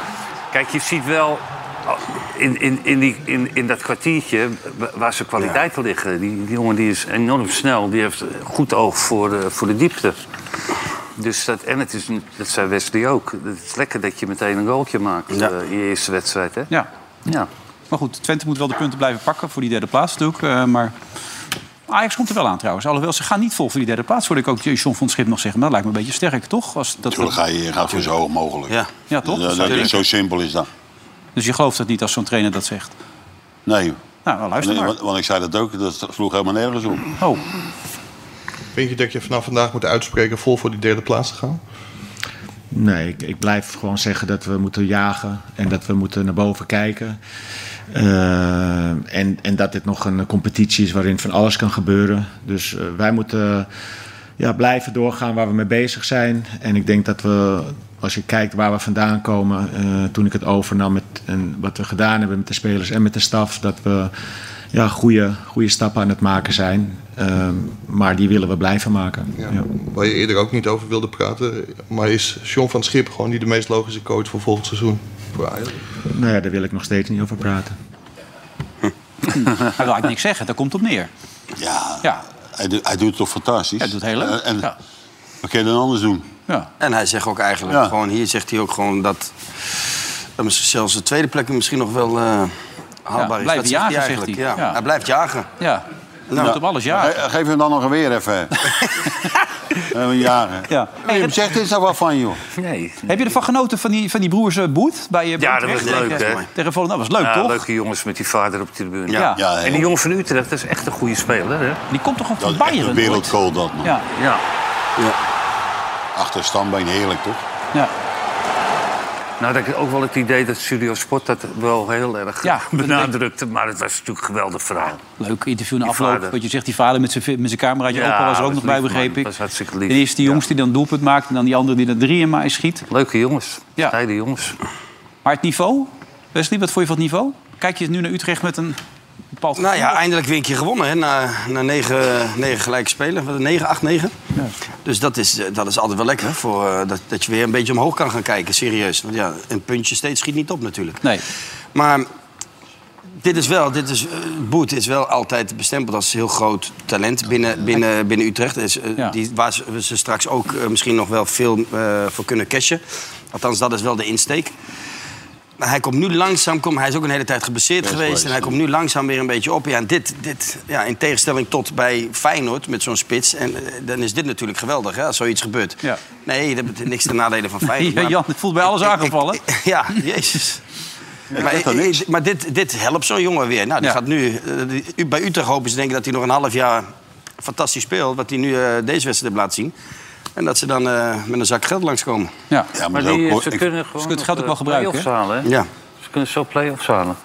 kijk, je ziet wel oh, in, in, in, die, in, in dat kwartiertje wa- waar zijn kwaliteiten liggen. Die, die jongen die is enorm snel, die heeft goed oog voor, eh, voor de diepte. Dus dat, en het is, een- dat zei Wesley ook. Het is lekker dat je meteen een goaltje maakt eh, in je eerste wedstrijd. Hè? Ja. ja. Maar goed, Twente moet wel de punten blijven pakken voor die derde plaats natuurlijk. eh, maar Ajax komt er wel aan trouwens. Alhoewel, ze gaan niet vol voor die derde plaats. Hoorde ik ook John van Schip nog zeggen. Maar dat lijkt me een beetje sterk, toch? Als dat Natuurlijk ga je, je gaat voor zo hoog mogelijk. Ja, ja toch? Dat- dat- Natuurlijk. zo simpel is dat. Dus je gelooft dat niet als zo'n trainer dat zegt? Nee. Nou, dan luister Nee, maar. want, want ik zei dat ook, dat sloeg helemaal nergens op. Oh. Vind je dat je vanaf vandaag moet uitspreken vol voor die derde plaats te gaan? Nee, ik, ik blijf gewoon zeggen dat we moeten jagen en dat we moeten naar boven kijken. Eh, en, en dat dit nog een competitie is waarin van alles kan gebeuren. Dus eh, wij moeten ja, blijven doorgaan waar we mee bezig zijn. En ik denk dat we, als je kijkt waar we vandaan komen, eh, toen ik het overnam met, en wat we gedaan hebben met de spelers en met de staf, dat we ja, goede, goede stappen aan het maken zijn. Eh, maar die willen we blijven maken. Ja. Waar je eerder ook niet over wilde praten. Maar is John van Schip gewoon niet de meest logische coach voor volgend seizoen? Voor Ajax? Nou ja, daar wil ik nog steeds niet over praten. Hij Nou, laat niks zeggen, daar komt op neer. Ja, ja. Hij, doet- hij doet het toch fantastisch? Hij doet heel leuk. En, Wat kun je dan anders doen? En hij zegt ook eigenlijk Ja. gewoon, hier zegt hij ook gewoon dat, dat misschien zelfs de tweede plek misschien nog wel eh, haalbaar is. blijven dat zegt jagen, hij zegt eigenlijk. hij. ja. Ja. Hij blijft jagen. Ja. Nou, op alles jagen. eh, geef hem dan nog een weer even. Eh, Even jagen. Ja. Hey, hem zegt is daar wat van, joh. Nee. Heb je ervan genoten van die, van die broers eh, Boet? Bij, eh, Ja, dat was Boetrecht leuk, tegen- hè? Tegen Volendam. Dat was leuk, Ja, toch? Leuke jongens met die vader op de tribune. Ja. Ja, en die jongen van Utrecht, dat is echt een goede speler, hè? Die komt toch op van Echt een wereldgoal dat, man. Ja. Ja. Achter standbeen, heerlijk, toch? Ja. Nou, dat ik ook wel het idee dat Studio Sport dat wel heel erg benadrukte. Maar het was natuurlijk een geweldig verhaal. Leuk interview na Die afloop. vader. Wat je zegt, die vader met zijn met zijn cameraatje Ja, open was er ook nog was bij, lief, man. begreep ik. Dat is hartstikke En eerst die jongste die dan doelpunt maakt... en dan die andere die er drie in mij schiet. Leuke jongens. Ja. Heide jongens. Maar het niveau? Wesley, wat vond je van het niveau? Kijk je nu naar Utrecht met een bepaald... Nou ja, eindelijk weer een keer gewonnen, hè? Na, na negen, negen gelijke spelen. Wat, Negen, acht, negen. Dus dat is, eh, dat is altijd wel lekker. Voor, eh, dat, dat je weer een beetje omhoog kan gaan kijken, serieus. Want ja, een puntje steeds schiet niet op natuurlijk. Nee. Maar dit is wel, dit is, eh, Boet is wel altijd bestempeld als heel groot talent binnen, binnen, binnen Utrecht. Is, eh, die, waar ze, we ze straks ook eh, misschien nog wel veel eh, voor kunnen cashen. Althans, dat is wel de insteek. Maar hij komt nu langzaam, kom, hij is ook een hele tijd geblesseerd geweest. geweest, en hij komt nu langzaam weer een beetje op. Ja, en dit, dit, ja, in tegenstelling tot bij Feyenoord met zo'n spits. En eh, dan is dit natuurlijk geweldig, hè, als zoiets gebeurt. Ja. Nee, dat betekent niks ten nadele van Feyenoord. Ja, maar- Jan voelt bij alles aangevallen. ja, jezus. Ja, maar ik dacht dat eh, maar dit, dit helpt zo'n jongen weer. Nou, die gaat nu, eh, die- u- bij Utrecht hopen ze denken dat hij nog een half jaar fantastisch speelt. Wat hij nu eh, deze wedstrijd heeft laten zien. En dat ze dan eh, met een zak geld langskomen. Ja, maar die, eh, ze kunnen gewoon het geld nog, ook wel eh, gebruiken, play-offs halen, hè? Ja. Ze kunnen zo play-offs halen.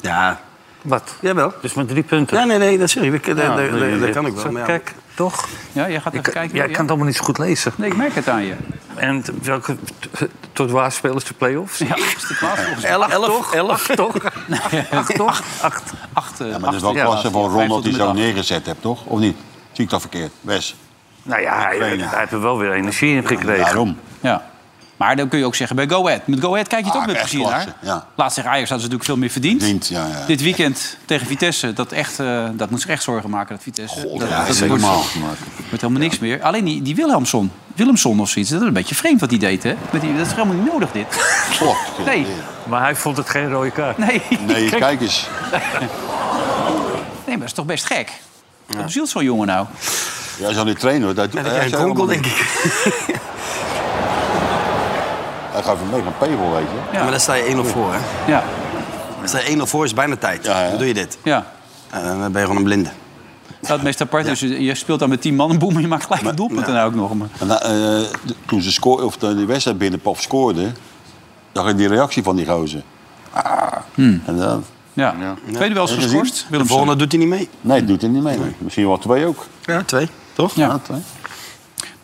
Ja. Wat? Jawel. Dus met drie punten. Nou, Ja, nee, nee, dat zeg ik. Ik- dat- dat- nee, dat nee. kan ik wel, Zo, maar ja. Kijk, toch? Ja, jij gaat even kijken, ja. Ja, ik kan het allemaal niet zo goed lezen. Nee, ik merk het aan je. En t- welke, t- tot waar spelen ze de play-offs? Ja, de plaats volgens mij. Elf, Elf, toch? elf. Acht, toch? Acht, toch? Acht. Acht, eh, Ja, maar dat is wel acht, ja, klasse van ja, Ron vijf dat tot en hij met zo acht. neergezet hebt, toch? Of niet? Zie ik dat verkeerd? Wes. Nou ja, hij, hij heeft er wel weer energie in gekregen. Daarom. Ja. Maar dan kun je ook zeggen bij Go Ahead. Met Go Ahead kijk je toch Ah, met echt plezier klasse, naar. ja. Laatst tegen Ajax hadden ze natuurlijk veel meer verdiend. ja, ja. Dit weekend tegen Vitesse, dat, echt, eh, dat moet zich echt zorgen maken, dat Vitesse. dat, ja, dat is helemaal wordt helemaal niks meer. Alleen die, die Wilhelmson, Willemson of zoiets, dat is een beetje vreemd wat hij deed, hè? Met die, dat is helemaal niet nodig, dit. Nee. Maar hij vond het geen rode kaart. Nee. Nee, kijk eens. Nee, maar dat is toch best gek? Hoe zielt zo'n jongen nou? Ja, zo'n trainer. Dat, Ja, dat Eh, hij jij is een helemaal kronkel, denk niet- Hij gaf hem mee van Pebel, weet je. Maar dan sta je 1-0 voor, hè? Ja. Dan sta je 1-0 voor, is bijna tijd. Dan doe je dit. Eh, Ja. dan ben je gewoon een blinde. Dat is meest apart. Dus je je speelt dan met tien man een boem en je maakt gelijk een doelpunt en ook nog. Maar... En, nou, eh, de- toen ze scoorde, of de, die wedstrijd binnenpop scoorde, zag je die reactie van die gozer. Ah, Hmm. en dan, Ja. Tweede wel eens Heb je geschorst. gezien? Willem De volgende doet hij niet mee. Nee, doet hij niet mee. nee. Misschien wel twee ook. Ja, twee. Toch? Ja.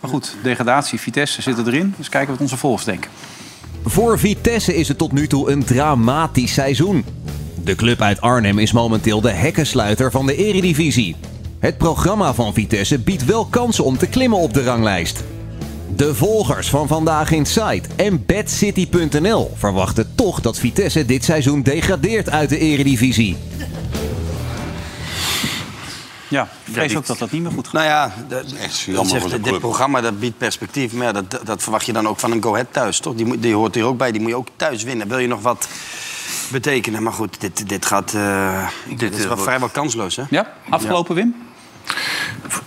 Maar goed, degradatie, Vitesse zit erin. Dus kijken wat onze volgers denken. Voor Vitesse is het tot nu toe een dramatisch seizoen. De club uit Arnhem is momenteel de hekkensluiter van de Eredivisie. Het programma van Vitesse biedt wel kansen om te klimmen op de ranglijst. De volgers van Vandaag in Sight en BadCity.nl verwachten toch dat Vitesse dit seizoen degradeert uit de Eredivisie. Ja, ik vrees ook dat dat niet meer goed gaat. Nou ja, dat, jammer dat zegt- voor zo'n dit club. programma dat biedt perspectief. Maar ja, dat, dat- dat verwacht je dan ook van een go-ahead thuis, toch? Die, moet- die hoort hier ook bij. Die moet je ook thuis winnen. Wil je nog wat betekenen? Maar goed, dit, dit gaat... eh, dit is wel wordt- vrijwel kansloos, hè? Ja, afgelopen Wim?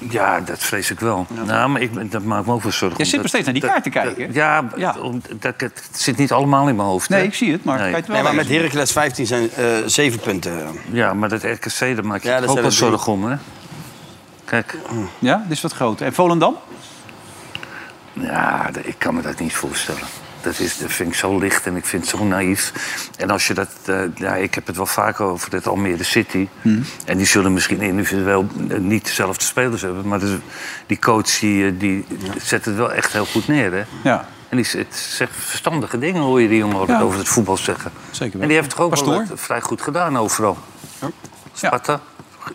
Ja, dat vrees ik wel. Nou, maar ik, dat maakt me ook wel zorgen. Jij zit nog Omdat- steeds naar die kaart te kijken. ja, om- dat, dat zit niet allemaal in mijn hoofd. Nee, ik zie het, maar ik kijk het wel Nee, Nee, maar maar eens. met met Heracles 15 zijn eh, zeven punten. Ja, maar dat RKC, daar maak je Ja, je dat ook wel zijn er drie. zorgen om, hè? Kijk. Ja, dit is wat groter. En Volendam? Ja, d- ik kan me dat niet voorstellen. Dat, is, dat vind ik zo licht en ik vind het zo naïef. En als je dat... eh, ja, ik heb het wel vaker over dit Almere City. Hmm. En die zullen misschien individueel eh, niet dezelfde spelers hebben. Maar dus die coach die, eh, die zet het wel echt heel goed neer, hè? Ja. En die zegt zegt verstandige dingen, hoor je die jongen altijd Ja. over het voetbal zeggen. Zeker wel. En die heeft het ook wel Pastoor? eh, vrij goed gedaan overal. Sparta,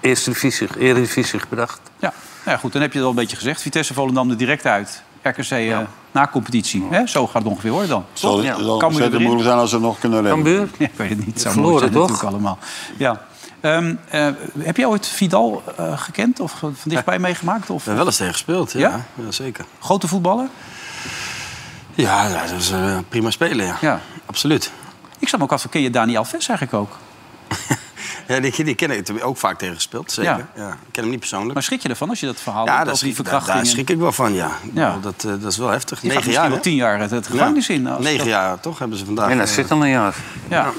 eerste divisie, eredivisie gebracht. Ja. Nou ja, goed, dan heb je het al een beetje gezegd. Vitesse Volendam er direct uit. RKC eh, na competitie. Hè? Zo gaat het ongeveer hoor dan. Zal Toch? het zal Cambuur ontzettend erin. moeilijk zijn als ze nog kunnen redden. Cambuur? Ja, ik weet het niet. Zo Verloren, mooi zijn toch? natuurlijk allemaal. Ja. Ehm, eh, heb jij ooit Vidal eh, gekend of ge- van dichtbij meegemaakt? Of? wel eens tegen gespeeld, ja. Ja? Ja, zeker. Grote voetballer? Ja, dat is eh, prima spelen, ja. Absoluut. Ik zou me ook af, ken je Dani Alves eigenlijk ook? Ja, die, die ken ik. Daar heb ik ook vaak tegen gespeeld, zeker. Ja. Ja. Ik ken hem niet persoonlijk. Maar schrik je ervan als je dat verhaal ja, hoort daar over die schrik, daar, verkrachting? daar schrik ik wel van, ja. Ja. Dat, eh, dat is wel heftig. Je gaat Negen misschien jaar, wel hè? tien jaar het, het gevangenis Ja. in. als Negen dat- jaar, toch, hebben ze vandaag. En nou, dat eh, zit al een jaar. Ja.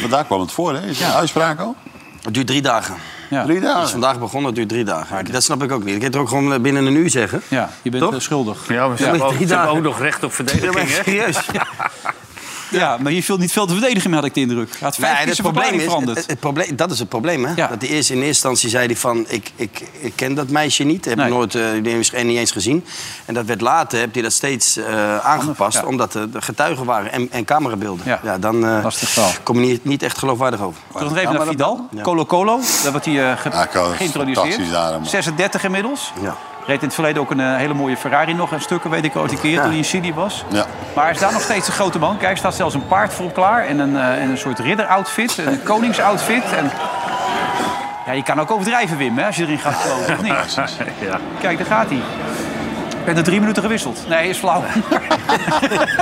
Vandaag kwam het voor, hè? Is er een uitspraak al? Het duurt drie dagen. Ja. Drie dagen? Het is vandaag begonnen, het duurt drie dagen. Dat snap ik ook niet. Ik kan het ook gewoon eh, binnen een uur zeggen. Ja, je bent Toch? eh, schuldig. Ja, maar ze hebben ook- Drie ze hebben dagen. ook nog recht op Ja, maar verdediging, hè? serieus. Ja, maar hier viel niet veel te verdedigen, had ik de indruk. Hij had vijf Nee, keer het zijn probleem verklaring is, veranderd. het, het probleem, dat is het probleem, hè? Dat hij eerst in eerste instantie zei hij van, ik, ik, ik ken dat meisje niet. Heb ik nooit, eh, die heeft- en niet eens gezien. En dat werd later, heb hij dat steeds eh, aangepast... ja. omdat er de getuigen waren en, en camerabeelden. Ja, dan eh, kom je niet, niet echt geloofwaardig over. Terug nog even Ja, naar maar dat- Vidal. ja. Colo Colo, daar wordt hij eh, ge- Ja, Colo is fantastisch daar, geïntroduceerd. man. 36 inmiddels. Ja. Reed in het verleden ook een eh, hele mooie Ferrari nog. En stukken weet ik ooit een keer toen hij in Chili was. Ja. Maar hij is daar nog steeds een grote man. Kijk, er staat zelfs een paard voor klaar. En een, eh, en een soort ridder-outfit. en Een koningsoutfit. En... Ja, je kan ook overdrijven, Wim, hè, als je erin gaat komen. Of niet? Ja. Kijk, daar gaat hij. Werd er drie minuten gewisseld. Nee, is flauw.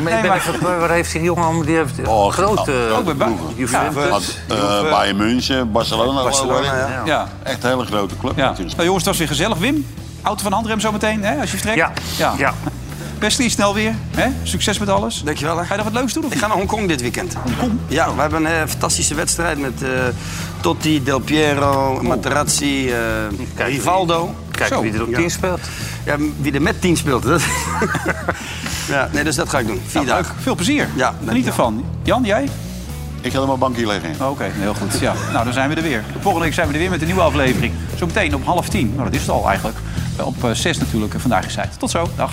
Maar ik ben even- waar heeft die jongen allemaal- die heeft Oh, grote... geweldig. Juventus. Had, eh, Bayern München, Barcelona. Barcelona, geloof ik. ja. Echt een hele grote club natuurlijk. Nou, jongens, het was weer gezellig. Wim, auto van handrem zometeen, hè, als je vertrekt. Ja. ja. Wesley, snel weer. Hè? Succes met alles. Dankjewel. Hè. Ga je nog wat leuks doen? Of Ik ga naar Hongkong dit weekend. Ja, we hebben een eh, fantastische wedstrijd met eh, Totti, Del Piero, Materazzi, eh, Rivaldo. Kijk wie er op Ja. 10 speelt. Ja, wie er met 10 speelt. Dat... ja, nee, dus dat ga ik doen. Vier dagen. Veel plezier. Ja, Geniet ervan. Jan, jij? Ik ga er maar bankje liggen. Oh, Oké, heel goed. Ja. Nou, dan zijn we er weer. Volgende week zijn we er weer met een nieuwe aflevering. Zometeen om half tien. Nou, dat is het al eigenlijk. Op eh, zes natuurlijk. eh, Vandaag is het. Tot zo. Dag.